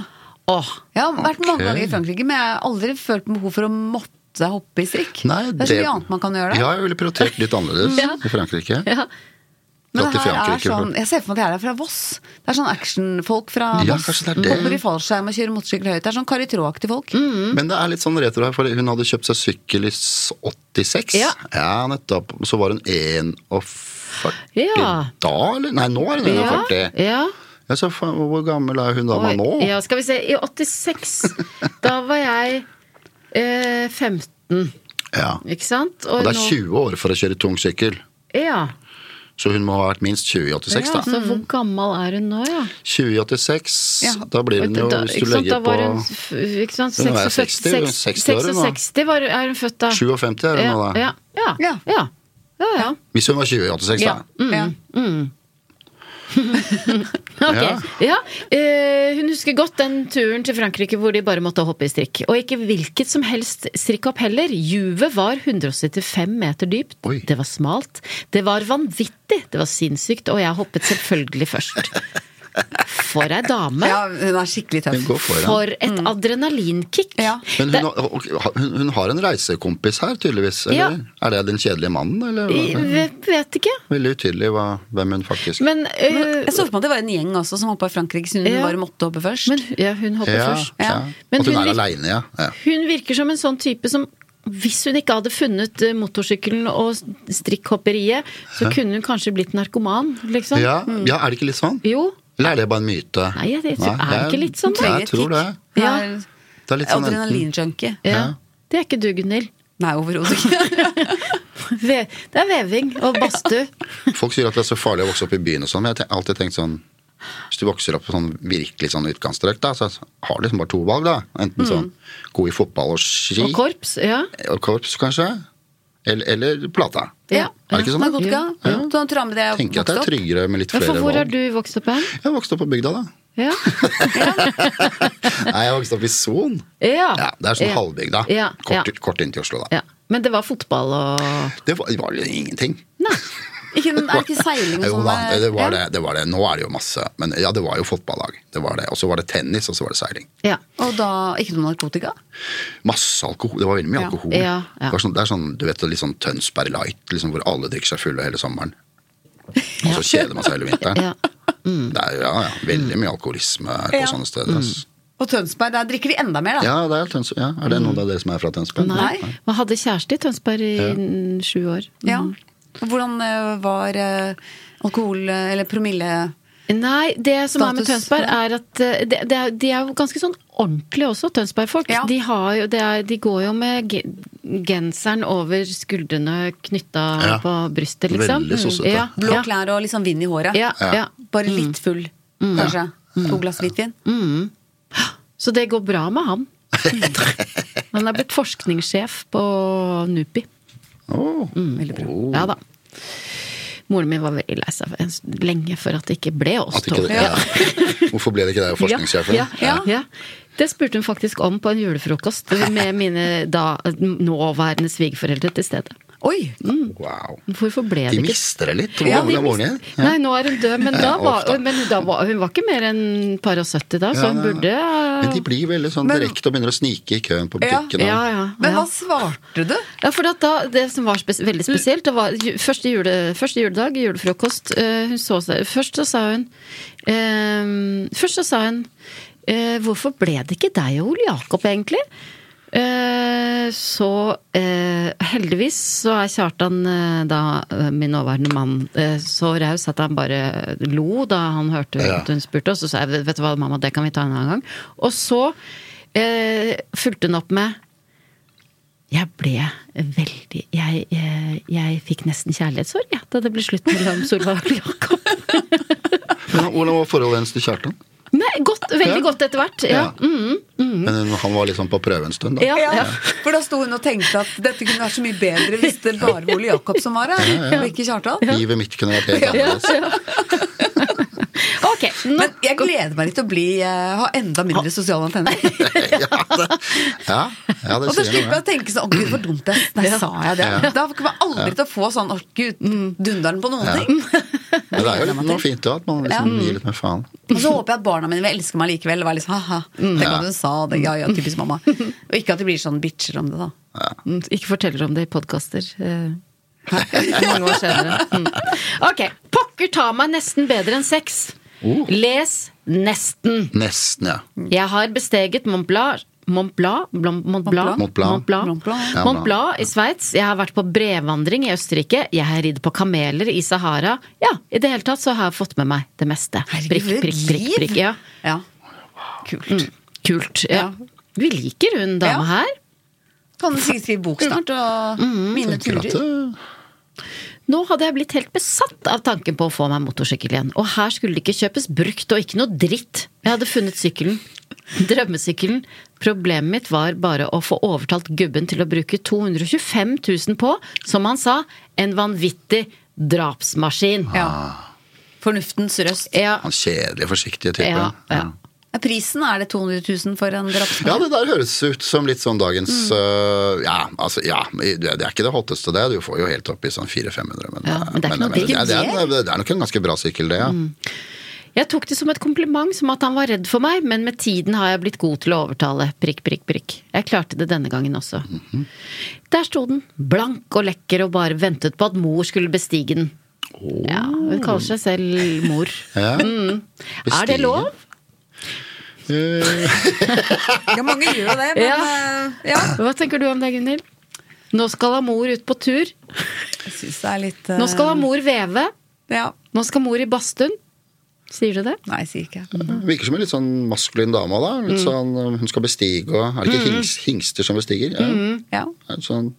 [SPEAKER 2] Åh,
[SPEAKER 3] Jeg har vært mange
[SPEAKER 4] Ok.
[SPEAKER 3] ganger i Frankrike, men jeg har aldri følt behov for å måtte hoppe i strikk.
[SPEAKER 4] Nei,
[SPEAKER 3] det er så mye annet man kan gjøre der.
[SPEAKER 4] Ja, jeg ville prioritert litt annerledes
[SPEAKER 2] Ja.
[SPEAKER 4] i Frankrike.
[SPEAKER 2] ja.
[SPEAKER 3] Men
[SPEAKER 4] Dratt
[SPEAKER 3] det
[SPEAKER 4] til
[SPEAKER 3] her er
[SPEAKER 4] Frankrike for-
[SPEAKER 3] sånn, jeg ser for meg at jeg er fra Voss. Det er sånn actionfolk fra
[SPEAKER 4] Ja,
[SPEAKER 3] Voss.
[SPEAKER 4] kanskje det Mm. er det.
[SPEAKER 3] Hopper i fallskjerm og kjører motorsykkel høyt. Det er sånn Kari Traa-aktige folk.
[SPEAKER 2] Mm.
[SPEAKER 4] Men det er litt sånn retro her, for hun hadde kjøpt seg sykkel i s- 86.
[SPEAKER 2] Ja.
[SPEAKER 4] nettopp. Så var hun 41
[SPEAKER 2] Ja.
[SPEAKER 4] da, eller? Nei, nå er hun
[SPEAKER 2] Ja,
[SPEAKER 4] 41. Ja.
[SPEAKER 2] ja.
[SPEAKER 4] så faen, hvor gammel er hun dama
[SPEAKER 2] Oi,
[SPEAKER 4] nå?
[SPEAKER 2] Ja, skal vi se. I 86, da var jeg eh, 15,
[SPEAKER 4] Ja.
[SPEAKER 2] ikke sant?
[SPEAKER 4] Og det er
[SPEAKER 2] nå-
[SPEAKER 4] 20 år for å kjøre tung sykkel.
[SPEAKER 2] Ja.
[SPEAKER 4] Så hun må ha vært minst 20 i 86,
[SPEAKER 2] ja
[SPEAKER 4] da.
[SPEAKER 2] så hvor gammel er hun nå, ja?
[SPEAKER 4] 20 i 86,
[SPEAKER 3] Ja.
[SPEAKER 4] da blir hun jo,
[SPEAKER 2] Da-
[SPEAKER 4] hvis
[SPEAKER 2] ikke
[SPEAKER 4] du
[SPEAKER 2] sant, da
[SPEAKER 4] legger på
[SPEAKER 2] var hun, f- ikke sant,
[SPEAKER 4] Hun er
[SPEAKER 2] 66
[SPEAKER 4] 60, hun er 60 år, hun nå.
[SPEAKER 2] 66 var, er hun født da.
[SPEAKER 4] 57 er hun nå, da.
[SPEAKER 2] Ja, ja, ja.
[SPEAKER 3] Ja.
[SPEAKER 2] ja. ja, ja.
[SPEAKER 4] Hvis hun var 20 i 86,
[SPEAKER 2] Ja.
[SPEAKER 4] da.
[SPEAKER 3] Ja.
[SPEAKER 2] Ok,
[SPEAKER 4] Ja.
[SPEAKER 2] ja. Eh, hun husker godt den turen til Frankrike hvor de bare måtte hoppe i strikk. Og ikke hvilket som helst strikkhopp heller. Juvet var 175 meter dypt.
[SPEAKER 4] Oi.
[SPEAKER 2] Det var smalt. Det var vanvittig. Det var sinnssykt. Og jeg hoppet selvfølgelig først. For ei dame.
[SPEAKER 3] Ja, hun er skikkelig
[SPEAKER 4] Hun
[SPEAKER 3] tøff.
[SPEAKER 4] går foran.
[SPEAKER 2] For et adrenalinkick.
[SPEAKER 3] Ja.
[SPEAKER 4] Men
[SPEAKER 2] Det-
[SPEAKER 4] hun, har- ok, hun, hun har en reisekompis her, tydeligvis.
[SPEAKER 2] Ja.
[SPEAKER 4] Eller? Er det den kjedelige mannen, eller? hva?
[SPEAKER 2] Jeg vet ikke.
[SPEAKER 4] Veldig utydelig hva, hvem hun faktisk
[SPEAKER 2] Men, eh,
[SPEAKER 3] Jeg så for meg at det var en gjeng også som hoppa i Frankrike, siden hun
[SPEAKER 2] Ja.
[SPEAKER 3] bare måtte hoppe først.
[SPEAKER 2] men ja, hun hopper
[SPEAKER 4] ja,
[SPEAKER 2] først.
[SPEAKER 4] ja.
[SPEAKER 2] Men
[SPEAKER 4] At hun,
[SPEAKER 2] hun
[SPEAKER 4] er
[SPEAKER 2] lik-
[SPEAKER 4] aleine, ja. ja.
[SPEAKER 2] Hun virker som en sånn type som hvis hun ikke hadde funnet eh, motorsykkelen og strikkhopperiet, så kunne hun kanskje blitt narkoman, liksom.
[SPEAKER 4] Ja, ja, er det ikke litt sånn?
[SPEAKER 2] Jo.
[SPEAKER 4] Eller er det bare en myte?
[SPEAKER 2] Nei, jeg vet ikke. Er det
[SPEAKER 4] jeg-
[SPEAKER 2] ikke litt sånn?
[SPEAKER 4] Jeg, tror det.
[SPEAKER 3] Hun
[SPEAKER 2] Ja.
[SPEAKER 3] er
[SPEAKER 4] Det er litt sånn enten
[SPEAKER 3] Adrenalinjunkie.
[SPEAKER 2] Ja. Det er ikke du, Gunhild.
[SPEAKER 3] Nei, overhodet ikke.
[SPEAKER 2] Ve- Det er veving og badstue.
[SPEAKER 4] Folk sier at det er så farlig å vokse opp i byen og sånn, men jeg har te- alltid tenkt sånn Hvis du vokser opp på sånn virkelig sånn utkantstrøk, da, så har du liksom bare to valg, da. Enten sånn god i fotball og ski,
[SPEAKER 2] Mm. Og korps. Ja.
[SPEAKER 4] og korps kanskje, eller, eller plata.
[SPEAKER 2] Ja.
[SPEAKER 4] Er det ikke sånn?
[SPEAKER 3] Narkotika.
[SPEAKER 4] Ja.
[SPEAKER 3] Så hun tar med det og
[SPEAKER 4] Tenker at det er
[SPEAKER 3] vokste opp.
[SPEAKER 4] tryggere med litt
[SPEAKER 2] Ja,
[SPEAKER 4] flere
[SPEAKER 2] for hvor har
[SPEAKER 4] valg.
[SPEAKER 2] du vokst opp hen?
[SPEAKER 4] Jeg vokste opp på bygda, da.
[SPEAKER 2] Ja.
[SPEAKER 4] Nei, jeg vokste opp i Son.
[SPEAKER 2] ja.
[SPEAKER 4] Ja, det er sånn
[SPEAKER 2] Ja.
[SPEAKER 4] halvbygda.
[SPEAKER 2] Ja.
[SPEAKER 4] Kort,
[SPEAKER 2] ja.
[SPEAKER 4] kort inn til Oslo, da.
[SPEAKER 2] ja. Men det var fotball og
[SPEAKER 4] Det var, det var jo ingenting.
[SPEAKER 2] Nei.
[SPEAKER 3] Ikke, er det ikke seiling og
[SPEAKER 4] Jo
[SPEAKER 3] sånn?
[SPEAKER 4] da,
[SPEAKER 3] der?
[SPEAKER 4] det var
[SPEAKER 3] Ja.
[SPEAKER 4] det, det var det. Nå er det jo masse. Men ja, det var jo fotballag. Det var det. Og så var det tennis, og så var det seiling.
[SPEAKER 2] Ja.
[SPEAKER 3] Og da ikke noe narkotika?
[SPEAKER 4] Masse alkohol. Det var veldig mye alkohol.
[SPEAKER 2] Ja, ja.
[SPEAKER 4] Det, var sånn, det er sånn, du vet, litt sånn Tønsberg Light, liksom, hvor alle drikker seg fulle hele sommeren. Og så kjeder man seg hele vinteren.
[SPEAKER 2] Ja. mm.
[SPEAKER 4] Det er, ja, ja, veldig mye alkoholisme på
[SPEAKER 3] Ja.
[SPEAKER 4] sånne steder. ass.
[SPEAKER 3] Og Tønsberg, der drikker de enda mer, da.
[SPEAKER 4] Ja, det er, Tøns ja, er det noen av dere som er fra Tønsberg?
[SPEAKER 2] Nei. Man hadde kjæreste i Tønsberg i mm, sju år.
[SPEAKER 3] Ja. Og Hvordan eh, var eh, alkohol- eh, eller promille...
[SPEAKER 2] Nei, det som er med
[SPEAKER 3] Status,
[SPEAKER 2] Tønsberg,
[SPEAKER 3] ja.
[SPEAKER 2] er at eh, det, det er, de er jo ganske sånn ordentlige også, Tønsberg-folk.
[SPEAKER 3] Ja.
[SPEAKER 2] De, har jo, det er, de går jo med ge- genseren over skuldrene knytta
[SPEAKER 4] Ja.
[SPEAKER 2] på brystet, liksom.
[SPEAKER 4] Veldig sossete.
[SPEAKER 2] Ja,
[SPEAKER 3] Blå
[SPEAKER 2] ja,
[SPEAKER 3] klær og litt sånn vind i håret.
[SPEAKER 2] ja, ja.
[SPEAKER 3] Bare litt full, kanskje. To glass hvitvin.
[SPEAKER 2] Så det går bra med han. Han er blitt forskningssjef på NUPI.
[SPEAKER 4] Åh.
[SPEAKER 2] Mm,
[SPEAKER 4] Åh.
[SPEAKER 2] Ja da. Moren min var veldig lei seg for- en s- lenge for at det ikke ble oss
[SPEAKER 4] At ikke
[SPEAKER 2] to.
[SPEAKER 4] det, ja. Hvorfor ble det ikke deg og forskningssjefen?
[SPEAKER 2] Ja, ja, ja. Det spurte hun faktisk om på en julefrokost med mine da nåværende svigerforeldre til stede.
[SPEAKER 3] Oi!
[SPEAKER 4] Wow.
[SPEAKER 2] Hvorfor ble det
[SPEAKER 4] De
[SPEAKER 2] ikke
[SPEAKER 4] mister det litt. Hvor
[SPEAKER 3] Ja,
[SPEAKER 4] gammel
[SPEAKER 2] de
[SPEAKER 4] er moren din?
[SPEAKER 2] mist- Nei, nå er hun død, men, da
[SPEAKER 4] Ja,
[SPEAKER 2] var,
[SPEAKER 4] ofte.
[SPEAKER 2] men da var, hun var ikke mer enn par og 70 da, så
[SPEAKER 4] Ja,
[SPEAKER 2] hun
[SPEAKER 4] ja.
[SPEAKER 2] burde
[SPEAKER 4] Men de blir veldig sånn
[SPEAKER 3] Men-
[SPEAKER 4] direkte og begynner å snike i køen på
[SPEAKER 3] Ja.
[SPEAKER 4] butikken. og-
[SPEAKER 2] Ja, ja.
[SPEAKER 3] Men
[SPEAKER 2] ja.
[SPEAKER 3] hva svarte du?
[SPEAKER 2] Ja, for at da, Det som var spes veldig spesielt, det var ju første, jule første juledag, julefrokost eh, hun så seg, Først så sa hun eh, Først så sa hun eh, Hvorfor ble det ikke deg og Ole Jakob, egentlig? Eh, så eh, heldigvis så er Kjartan, eh, da eh, min nåværende mann, eh, så raus at han bare lo da han hørte
[SPEAKER 4] Ja.
[SPEAKER 2] at hun spurte. Og så sa jeg vet du hva mamma, det kan vi ta en annen gang. Og så eh, fulgte hun opp med Jeg ble veldig Jeg, eh, jeg fikk nesten kjærlighetssorg ja, da det ble slutt mellom Solveig og Jakob.
[SPEAKER 4] Hvordan hvordan var forholdet hennes til Kjartan?
[SPEAKER 2] Nei, godt, veldig
[SPEAKER 4] Ja.
[SPEAKER 2] godt etter hvert. Ja.
[SPEAKER 4] Ja. Men hun- han var liksom på prøve en stund, da.
[SPEAKER 2] Ja, ja.
[SPEAKER 3] mm, Ja, for da sto hun og tenkte at dette kunne vært så mye bedre hvis det bare var Ole Jakob som var her, og ikke Kjartan.
[SPEAKER 4] Livet mitt kunne vært helt annerledes.
[SPEAKER 2] Ok, nå
[SPEAKER 3] Men jeg gleder meg litt til å bli, eh, ha enda mindre sosiale antenner.
[SPEAKER 4] Ja, det, ja, ja, det
[SPEAKER 3] Og så
[SPEAKER 4] sier
[SPEAKER 3] slipper
[SPEAKER 4] noe.
[SPEAKER 3] jeg å tenke sånn Å, gud, hvor dumt det er. Nei, sa jeg det?
[SPEAKER 4] Ja.
[SPEAKER 3] Da kommer jeg aldri til å få sånn Å, gud,
[SPEAKER 2] Mm.
[SPEAKER 3] dunderen på noen
[SPEAKER 4] Ja.
[SPEAKER 3] ting.
[SPEAKER 4] Men det er jo litt noe fint da, at man liksom gir litt mer faen.
[SPEAKER 3] Og så håper jeg at barna mine vil elske meg likevel. Og være liksom, haha, tenk
[SPEAKER 4] Mm. Ja.
[SPEAKER 3] hva hun sa det, ja, ja, typisk mamma Og ikke at de blir sånn bitcher om det, da.
[SPEAKER 2] Mm, Ikke forteller om det i podkaster. eh, Mange år senere. Mm. Ok. Pokker ta meg nesten bedre enn sex. Oh. Les nesten.
[SPEAKER 4] Nesten, ja.
[SPEAKER 2] Jeg har besteget Mont Blanc Mont Blanc? Blom- Mont Blanc?
[SPEAKER 4] Mont Blanc.
[SPEAKER 2] Mont Blanc.
[SPEAKER 3] Mont Blanc.
[SPEAKER 4] Ja,
[SPEAKER 2] Mont Blanc i Sveits. Jeg har vært på brevandring i Østerrike. Jeg har ridd på kameler i Sahara. Ja, i det hele tatt så har jeg fått med meg det meste. Prikk,
[SPEAKER 3] for et
[SPEAKER 2] prikk, prikk.
[SPEAKER 3] liv.
[SPEAKER 2] prikk. Ja.
[SPEAKER 3] Ja. Mm. Kult.
[SPEAKER 2] Kult. Ja.
[SPEAKER 3] Ja.
[SPEAKER 2] Vi liker hun dama
[SPEAKER 3] Ja.
[SPEAKER 2] her.
[SPEAKER 3] Kan du sikkert skrive bok snart, og
[SPEAKER 2] Mm.
[SPEAKER 3] mine
[SPEAKER 4] Tenker at
[SPEAKER 3] turer.
[SPEAKER 4] det-
[SPEAKER 2] Nå hadde jeg blitt helt besatt av tanken på å få meg motorsykkel igjen. Og her skulle det ikke kjøpes brukt og ikke noe dritt. Jeg hadde funnet sykkelen. Drømmesykkelen. Problemet mitt var bare å få overtalt gubben til å bruke 225 000 på, som han sa, en vanvittig drapsmaskin.
[SPEAKER 3] Ja. Fornuftens røst.
[SPEAKER 2] Ja,
[SPEAKER 4] Han kjedelige, forsiktige typen.
[SPEAKER 2] ja, ja.
[SPEAKER 3] Er Prisen, er det 200 000 for en drapsmann?
[SPEAKER 4] Ja, det der høres ut som litt sånn dagens
[SPEAKER 2] Mm.
[SPEAKER 4] øh, Ja, altså, ja, det det er ikke det hotteste, det. Du får jo helt opp i sånn 400-500, men,
[SPEAKER 2] Ja, men det er ikke noe
[SPEAKER 4] det,
[SPEAKER 2] digg Mm.
[SPEAKER 4] er, det, er, det er nok en ganske bra sykkel, det, ja.
[SPEAKER 2] Jeg tok det som et kompliment, som at han var redd for meg, men med tiden har jeg blitt god til å overtale. Prikk, prikk, prikk. Jeg klarte det denne gangen også. Der sto den, blank og lekker, og bare ventet på at mor skulle bestige den. Ja, hun kaller seg selv mor. Mm.
[SPEAKER 4] ja.
[SPEAKER 2] Er det lov?
[SPEAKER 4] Eh,
[SPEAKER 3] Ja, mange gjør jo det, men
[SPEAKER 2] Ja.
[SPEAKER 3] eh, ja.
[SPEAKER 2] Hva tenker du om det, Gunhild? Nå skal ha mor ut på tur.
[SPEAKER 3] Jeg syns det er litt eh,
[SPEAKER 2] Nå skal ha mor veve.
[SPEAKER 3] Ja.
[SPEAKER 2] Nå skal mor i badstuen. Sier du det?
[SPEAKER 3] Nei, sier ikke jeg.
[SPEAKER 4] virker som en litt sånn maskulin dame, da.
[SPEAKER 2] Mm.
[SPEAKER 4] Litt sånn, øh, hun skal bestige og Er det ikke hings, hingster som bestiger? Ja.
[SPEAKER 2] Mm.
[SPEAKER 3] Ja.
[SPEAKER 4] Er det Sånn,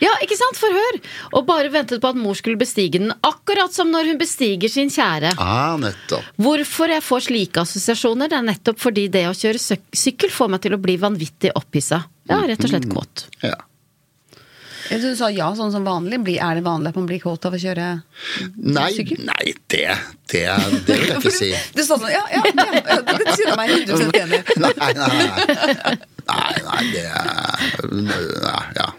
[SPEAKER 2] Ja, ikke sant? For hør! Og bare ventet på at mor skulle bestige den, akkurat som når hun bestiger sin kjære.
[SPEAKER 4] ah, nettopp.
[SPEAKER 2] Hvorfor jeg får slike assosiasjoner, det er nettopp fordi det å kjøre søk- sykkel får meg til å bli vanvittig opphissa. Ja, rett og slett kåt.
[SPEAKER 4] Ja.
[SPEAKER 3] Jeg synes Du sa ja, sånn som vanlig. Blir- Er det vanlig at man blir kåt av å kjøre
[SPEAKER 4] Nei, nei det, det, det vil jeg ikke si.
[SPEAKER 3] Du sa sånn, ja, ja, ja, ja det sier jeg meg 100 enig i.
[SPEAKER 4] Nei, nei, nei. Nei, nei, det er- nei, Ja.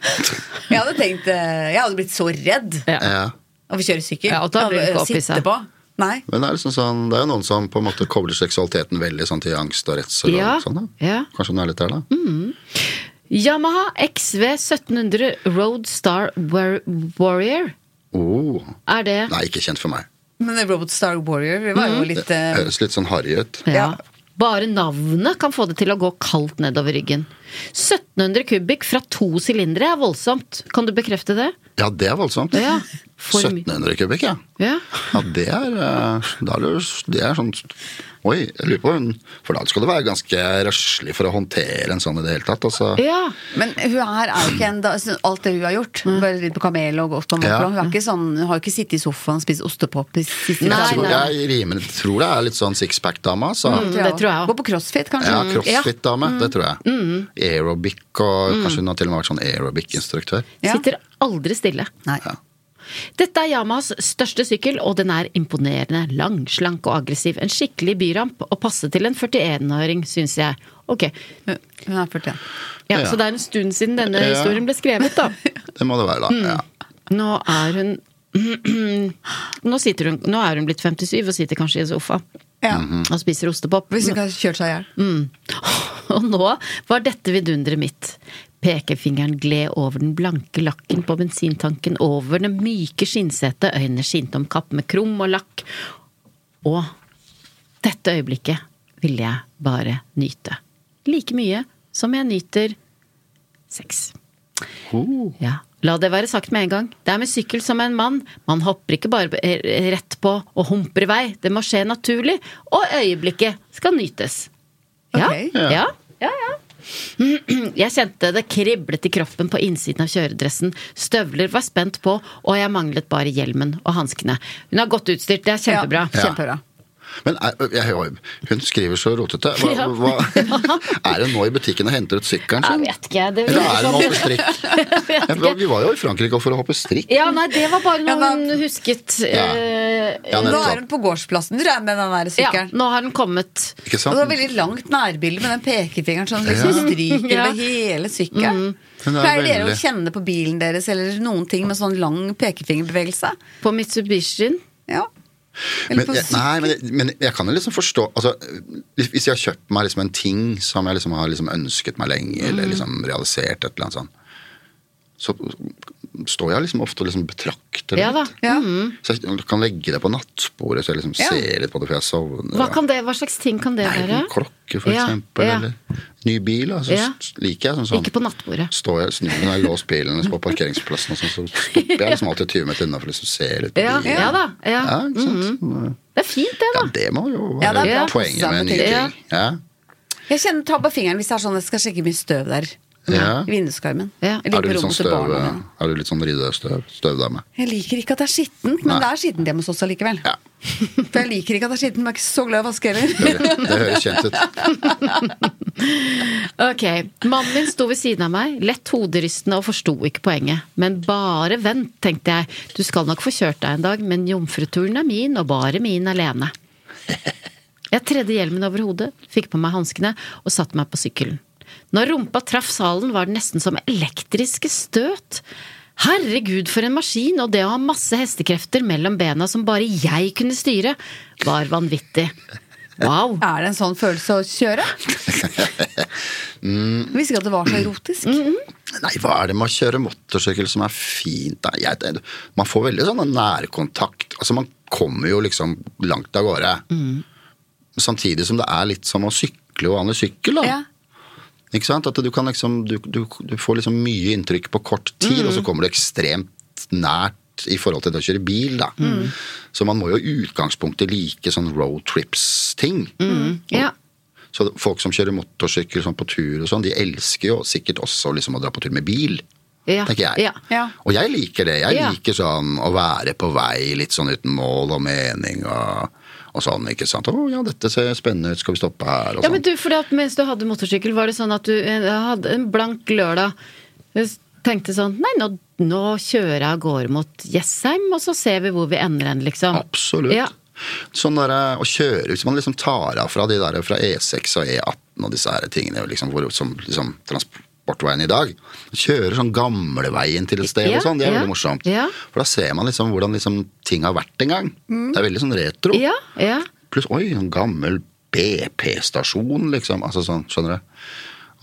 [SPEAKER 3] Jeg hadde tenkt eh, Jeg hadde blitt så redd
[SPEAKER 4] ja.
[SPEAKER 3] av å kjøre sykkel.
[SPEAKER 2] Ja, og da
[SPEAKER 3] Av
[SPEAKER 2] blir du
[SPEAKER 3] å
[SPEAKER 2] ikke opphisset.
[SPEAKER 3] sitte på. Nei.
[SPEAKER 4] Men det er, liksom sånn, det er jo noen som på en måte kobler seksualiteten veldig sånn til angst og redsel.
[SPEAKER 2] Ja,
[SPEAKER 4] og sånn, da.
[SPEAKER 2] ja.
[SPEAKER 4] Kanskje hun er litt der, da.
[SPEAKER 2] Yamaha XV 1700 Road Star War Warrior.
[SPEAKER 4] Oh,
[SPEAKER 2] Er det
[SPEAKER 4] nei, ikke kjent for meg.
[SPEAKER 3] Men Robot Star Warrior vi var jo litt
[SPEAKER 4] Det
[SPEAKER 3] eh,
[SPEAKER 4] høres litt sånn harry ut.
[SPEAKER 2] ja.
[SPEAKER 3] ja.
[SPEAKER 2] Bare navnet kan få det til å gå kaldt nedover ryggen. 1700 kubikk fra to silindere er voldsomt. Kan du bekrefte det?
[SPEAKER 4] Ja, det er voldsomt.
[SPEAKER 2] Ja. For mye.
[SPEAKER 4] 1700 kubikk, ja.
[SPEAKER 2] Ja.
[SPEAKER 4] Ja, det er, eh, da er det, jo- det er sånn Oi, jeg lurer på hun For da skal du være ganske røslig for å håndtere en sånn i det hele tatt. Altså.
[SPEAKER 2] ja.
[SPEAKER 3] Men hun her er jo ikke en da, så Alt det hun har gjort, bare ridd på kamel og gått på
[SPEAKER 4] Mm. Ja.
[SPEAKER 3] Montblanc, hun, er ikke sånn, hun har jo ikke sittet i sofaen og spist ostepop i siste
[SPEAKER 2] Nei,
[SPEAKER 4] jeg, tror,
[SPEAKER 2] nei.
[SPEAKER 4] jeg rimer, tror det er litt sånn sixpack-dame, altså.
[SPEAKER 2] Mm, det tror jeg Mm. også.
[SPEAKER 3] Gå på crossfit, kanskje.
[SPEAKER 4] Ja, crossfit-dame, det tror jeg. Aerobic,
[SPEAKER 2] Mm.
[SPEAKER 4] og kanskje hun har til og med vært sånn aerobic-instruktør.
[SPEAKER 3] Ja.
[SPEAKER 2] Sitter aldri stille.
[SPEAKER 3] Nei.
[SPEAKER 2] Dette er Yamahas største sykkel, og den er imponerende lang, slank og aggressiv. En skikkelig byramp, og passe til en 41-åring, syns jeg. Ok,
[SPEAKER 3] Hun hun er 41.
[SPEAKER 2] ja,
[SPEAKER 4] Ja.
[SPEAKER 2] Så det er en stund siden denne
[SPEAKER 4] Ja.
[SPEAKER 2] historien ble skrevet, da.
[SPEAKER 4] Det må det være, da. Ja.
[SPEAKER 2] Nå er hun nå, sitter hun nå er hun blitt 57 og sitter kanskje i en sofa
[SPEAKER 3] Ja.
[SPEAKER 4] Mhm.
[SPEAKER 2] og spiser ostepop.
[SPEAKER 3] Hvis hun ikke har kjørt seg i hjel.
[SPEAKER 4] Mm.
[SPEAKER 2] Og nå var dette vidunderet mitt. Pekefingeren gled over den blanke lakken på bensintanken, over det myke skinnsetet, øynene skinte om kapp med krum og lakk. Og dette øyeblikket ville jeg bare nyte. Like mye som jeg nyter sex. Ja. La det være sagt med en gang. Det er med sykkel som med en mann. Man hopper ikke bare eh, rett på og humper i vei. Det må skje naturlig, og øyeblikket skal nytes. Ja.
[SPEAKER 3] Ok.
[SPEAKER 2] Ja. ja, ja. Jeg kjente det kriblet i kroppen på innsiden av kjøredressen. Støvler var spent på, og jeg manglet bare hjelmen og hanskene. Hun er godt utstyrt, det er kjempebra.
[SPEAKER 3] Ja, kjempebra.
[SPEAKER 4] Men er, jeg, jeg- hun skriver så rotete. Hva,
[SPEAKER 2] Ja.
[SPEAKER 4] hva, er hun nå i butikken og henter ut sykkelen
[SPEAKER 2] Jeg
[SPEAKER 4] sin?
[SPEAKER 2] vet ikke. Det
[SPEAKER 4] Eller er hun
[SPEAKER 2] sånn.
[SPEAKER 4] hoppe strikk?
[SPEAKER 2] Jeg vet
[SPEAKER 4] Ja,
[SPEAKER 2] ikke.
[SPEAKER 4] Vi var jo i Frankrike for å hoppe strikk.
[SPEAKER 2] Ja, nei, det var bare noe
[SPEAKER 3] Ja, da-
[SPEAKER 2] hun husket.
[SPEAKER 4] Ja.
[SPEAKER 2] eh,
[SPEAKER 4] Ja,
[SPEAKER 3] Nå er
[SPEAKER 4] nettopp. Mm.
[SPEAKER 3] hun på gårdsplassen, tror jeg, med den der
[SPEAKER 2] Ja,
[SPEAKER 3] sykkelen.
[SPEAKER 2] nå har den kommet.
[SPEAKER 4] Ikke
[SPEAKER 3] Og det var
[SPEAKER 4] sant?
[SPEAKER 3] veldig langt nærbilde med den pekefingeren som liksom
[SPEAKER 4] Ja. Mm.
[SPEAKER 3] stryker
[SPEAKER 2] Ja.
[SPEAKER 3] over hele sykkelen.
[SPEAKER 4] Hun er
[SPEAKER 3] Pleier dere å
[SPEAKER 4] veldig-
[SPEAKER 3] kjenne på bilen deres eller noen ting med sånn lang pekefingerbevegelse?
[SPEAKER 2] På Mitsubishien.
[SPEAKER 3] Ja. Eller
[SPEAKER 4] Men,
[SPEAKER 3] på
[SPEAKER 4] jeg,
[SPEAKER 3] syk-
[SPEAKER 4] nei, men, jeg- men jeg kan jo liksom forstå altså, hvis- Hvis jeg har kjøpt meg liksom en ting som jeg liksom har liksom ønsket meg lenge, eller liksom realisert et eller annet sånt, så står jeg liksom ofte og liksom betrakter det
[SPEAKER 2] Ja da.
[SPEAKER 4] litt.
[SPEAKER 3] ja.
[SPEAKER 4] Så jeg kan legge det på nattbordet, så jeg liksom
[SPEAKER 3] Ja.
[SPEAKER 4] ser litt på det før jeg sovner.
[SPEAKER 2] Hva, kan det, hva slags ting kan det
[SPEAKER 4] Nei,
[SPEAKER 2] være?
[SPEAKER 4] En klokke, for
[SPEAKER 2] Ja,
[SPEAKER 4] eksempel.
[SPEAKER 2] ja.
[SPEAKER 4] Eller ny bil. da, så
[SPEAKER 2] Ja.
[SPEAKER 4] s- liker jeg sånn sånn.
[SPEAKER 2] Ikke på nattbordet.
[SPEAKER 4] Står jeg, snur meg når jeg har låst bilen liksom, på parkeringsplassen, og sånn, så stopper jeg liksom alltid 20 meter unna for å liksom se litt på
[SPEAKER 2] Ja,
[SPEAKER 4] bilen.
[SPEAKER 2] ja da. Mm-hmm. Ja.
[SPEAKER 4] Ja, ikke sant?
[SPEAKER 2] Det er fint, det,
[SPEAKER 4] ja,
[SPEAKER 2] da.
[SPEAKER 4] det må jo
[SPEAKER 3] Ja,
[SPEAKER 4] være
[SPEAKER 3] det er bra.
[SPEAKER 4] poenget med nye
[SPEAKER 3] Ja.
[SPEAKER 4] ting. Ja.
[SPEAKER 3] Jeg kjenner tar på fingeren hvis det er sånn jeg skal sjekke mye støv der.
[SPEAKER 4] Ja.
[SPEAKER 3] I vinduskarmen.
[SPEAKER 2] Ja.
[SPEAKER 3] Eller
[SPEAKER 4] Er du
[SPEAKER 3] på
[SPEAKER 4] litt sånn
[SPEAKER 3] rommet til
[SPEAKER 4] støv,
[SPEAKER 3] barna mine.
[SPEAKER 4] er du litt sånn riddestøv, støvdame?
[SPEAKER 3] Jeg liker ikke at det er skittent,
[SPEAKER 4] Nei.
[SPEAKER 3] men det er skittent hjemme hos oss allikevel.
[SPEAKER 4] Ja.
[SPEAKER 3] For jeg liker ikke at det er skittent, men jeg er ikke så glad i å vaske heller.
[SPEAKER 4] Det, det høres kjent ut.
[SPEAKER 2] Ok, Mannen min sto ved siden av meg, lett hoderystende og forsto ikke poenget. Men bare vent, tenkte jeg. Du skal nok få kjørt deg en dag, men jomfruturen er min, og bare min alene. Jeg tredde hjelmen over hodet, fikk på meg hanskene og satte meg på sykkelen. Når rumpa traff salen, var det nesten som elektriske støt. Herregud, for en maskin! Og det å ha masse hestekrefter mellom bena som bare jeg kunne styre, var vanvittig. Wow!
[SPEAKER 3] Er det en sånn følelse å kjøre?
[SPEAKER 4] Mm.
[SPEAKER 3] Jeg Visste ikke at det var så erotisk.
[SPEAKER 2] Mm,
[SPEAKER 4] Nei, hva er det med å kjøre motorsykkel som er fint? Nei, jeg, det- man får veldig sånn nærkontakt. Altså, man kommer jo liksom langt av gårde. Samtidig som det er litt som å sykle og vanlig sykkel, da.
[SPEAKER 3] Ja.
[SPEAKER 4] Ikke sant? At du kan liksom du, du, du får liksom mye inntrykk på kort tid, og så kommer du ekstremt nært i forhold til det å kjøre bil, da. Så man må jo i utgangspunktet like sånn roadtrips-ting.
[SPEAKER 3] Mm.
[SPEAKER 2] Mm. Ja.
[SPEAKER 4] Så folk som kjører motorsykkel sånn på tur og sånn, de elsker jo sikkert også liksom å dra på tur med bil.
[SPEAKER 2] Ja.
[SPEAKER 4] Tenker jeg.
[SPEAKER 2] Ja.
[SPEAKER 3] Ja.
[SPEAKER 4] Og jeg liker det. Jeg
[SPEAKER 2] Ja.
[SPEAKER 4] liker sånn å være på vei litt sånn uten mål og mening og, og sånn, ikke sant. Å ja, dette ser spennende ut, skal vi stoppe her? Og
[SPEAKER 2] Ja, men
[SPEAKER 4] sånn.
[SPEAKER 2] du, fordi at Mens du hadde motorsykkel, var det sånn at du eh, hadde en blank lørdag eh, tenkte sånn Nei, nå, nå kjører jeg av gårde mot Jessheim, og så ser vi hvor vi ender hen, liksom.
[SPEAKER 4] Absolutt.
[SPEAKER 2] Ja.
[SPEAKER 4] Sånn der, eh, å kjøre, Hvis man liksom tar av fra de der fra E6 og E18 og disse her tingene liksom, hvor, som liksom, transportveien i dag, kjører sånn gamleveien til et sted
[SPEAKER 2] Ja,
[SPEAKER 4] og sånn, det er
[SPEAKER 2] ja,
[SPEAKER 4] veldig morsomt.
[SPEAKER 2] ja.
[SPEAKER 4] For da ser man liksom hvordan liksom, ting har vært en gang. Det er veldig sånn retro.
[SPEAKER 2] Mm. ja, ja.
[SPEAKER 4] Pluss oi, en gammel BP-stasjon, liksom. Altså sånn, skjønner du.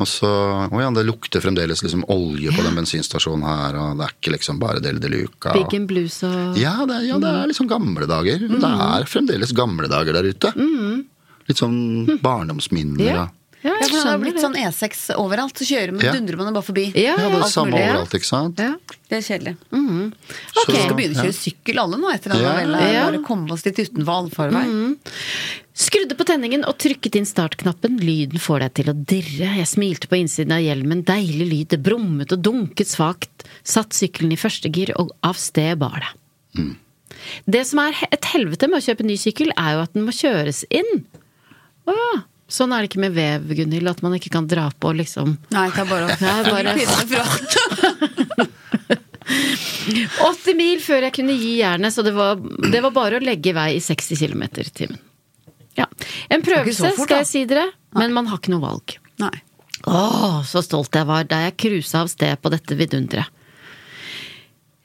[SPEAKER 4] Og så, å ja, Det lukter fremdeles liksom olje på den bensinstasjonen her, og det er ikke liksom bare Del de Luca. og-
[SPEAKER 2] Big and blues og
[SPEAKER 4] ja, det, er- ja, det
[SPEAKER 2] Mm.
[SPEAKER 4] er liksom gamle dager. Det er fremdeles gamle dager der ute. Litt sånn barndomsminner.
[SPEAKER 2] Mm. Ja.
[SPEAKER 4] da.
[SPEAKER 2] Ja,
[SPEAKER 3] Ja, for det har blitt
[SPEAKER 2] det.
[SPEAKER 3] sånn E6 overalt, så kjører man,
[SPEAKER 4] Ja.
[SPEAKER 3] dundrer man jo bare forbi.
[SPEAKER 2] Ja,
[SPEAKER 4] Ja, det er det
[SPEAKER 2] alt
[SPEAKER 4] samme
[SPEAKER 2] mulig, ja.
[SPEAKER 4] overalt, ikke sant?
[SPEAKER 2] Ja.
[SPEAKER 3] Det er kjedelig.
[SPEAKER 4] Så-
[SPEAKER 3] Vi skal begynne å
[SPEAKER 4] ja.
[SPEAKER 3] kjøre sykkel alle nå, etter at
[SPEAKER 4] Ja.
[SPEAKER 3] vi vel
[SPEAKER 2] Ja. Mm.
[SPEAKER 3] bare komme oss litt utenfor allfarvei.
[SPEAKER 2] Skrudde på tenningen og trykket inn startknappen. Lyden får deg til å dirre. Jeg smilte på innsiden av hjelmen. Deilig lyd. Det brummet og dunket svakt. Satt sykkelen i første gir, og av sted bar det. Det som er he- et helvete med å kjøpe ny sykkel, er jo at den må kjøres inn. Å ja. Sånn er det ikke med vev, Gunhild. At man ikke kan dra på, liksom.
[SPEAKER 3] Nei, det er bare å
[SPEAKER 2] Det er bare-
[SPEAKER 3] Kvinner fra-
[SPEAKER 2] 80 mil før jeg kunne gi jernet, så det var, det var bare å legge i vei i 60 km i timen. Ja. En
[SPEAKER 3] ikke så
[SPEAKER 2] prøvelse,
[SPEAKER 3] fort,
[SPEAKER 2] skal
[SPEAKER 3] da.
[SPEAKER 2] jeg si dere, men man har ikke noe valg.
[SPEAKER 3] Nei.
[SPEAKER 2] Åh, så stolt jeg var da jeg cruisa av sted på dette vidunderet.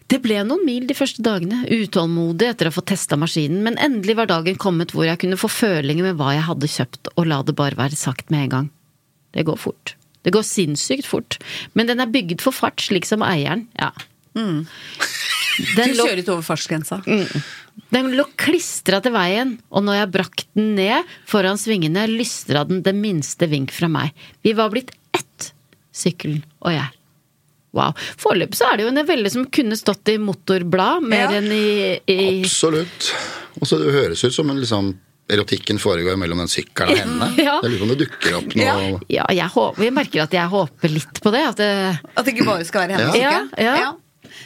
[SPEAKER 2] Det ble noen mil de første dagene, utålmodig etter å få testa maskinen, men endelig var dagen kommet hvor jeg kunne få følinger med hva jeg hadde kjøpt, og la det bare være sagt med en gang. Det går fort. Det går sinnssykt fort. Men den er bygd for fart, slik som eieren. Ja.
[SPEAKER 3] Du
[SPEAKER 2] Den lå Mm.
[SPEAKER 3] kjører litt over fartsgrensa.
[SPEAKER 2] den lå klistra til veien, og når jeg brakk den ned foran svingene, lystra den det minste vink fra meg. Vi var blitt ett, sykkelen og jeg. Wow. Foreløpig så er det jo en novelle som kunne stått i motorblad mer
[SPEAKER 3] Ja.
[SPEAKER 2] enn i, i
[SPEAKER 4] Absolutt. Og så det høres ut som en liksom erotikken foregår mellom den sykkelen og henne.
[SPEAKER 2] Ja.
[SPEAKER 4] Jeg lurer på om det dukker opp noe
[SPEAKER 3] Ja.
[SPEAKER 2] Ja, jeg, håper, jeg merker at jeg håper litt på det. At det
[SPEAKER 3] At det ikke bare skal være hennes
[SPEAKER 2] Ja.
[SPEAKER 3] lykke.
[SPEAKER 2] Ja, ja.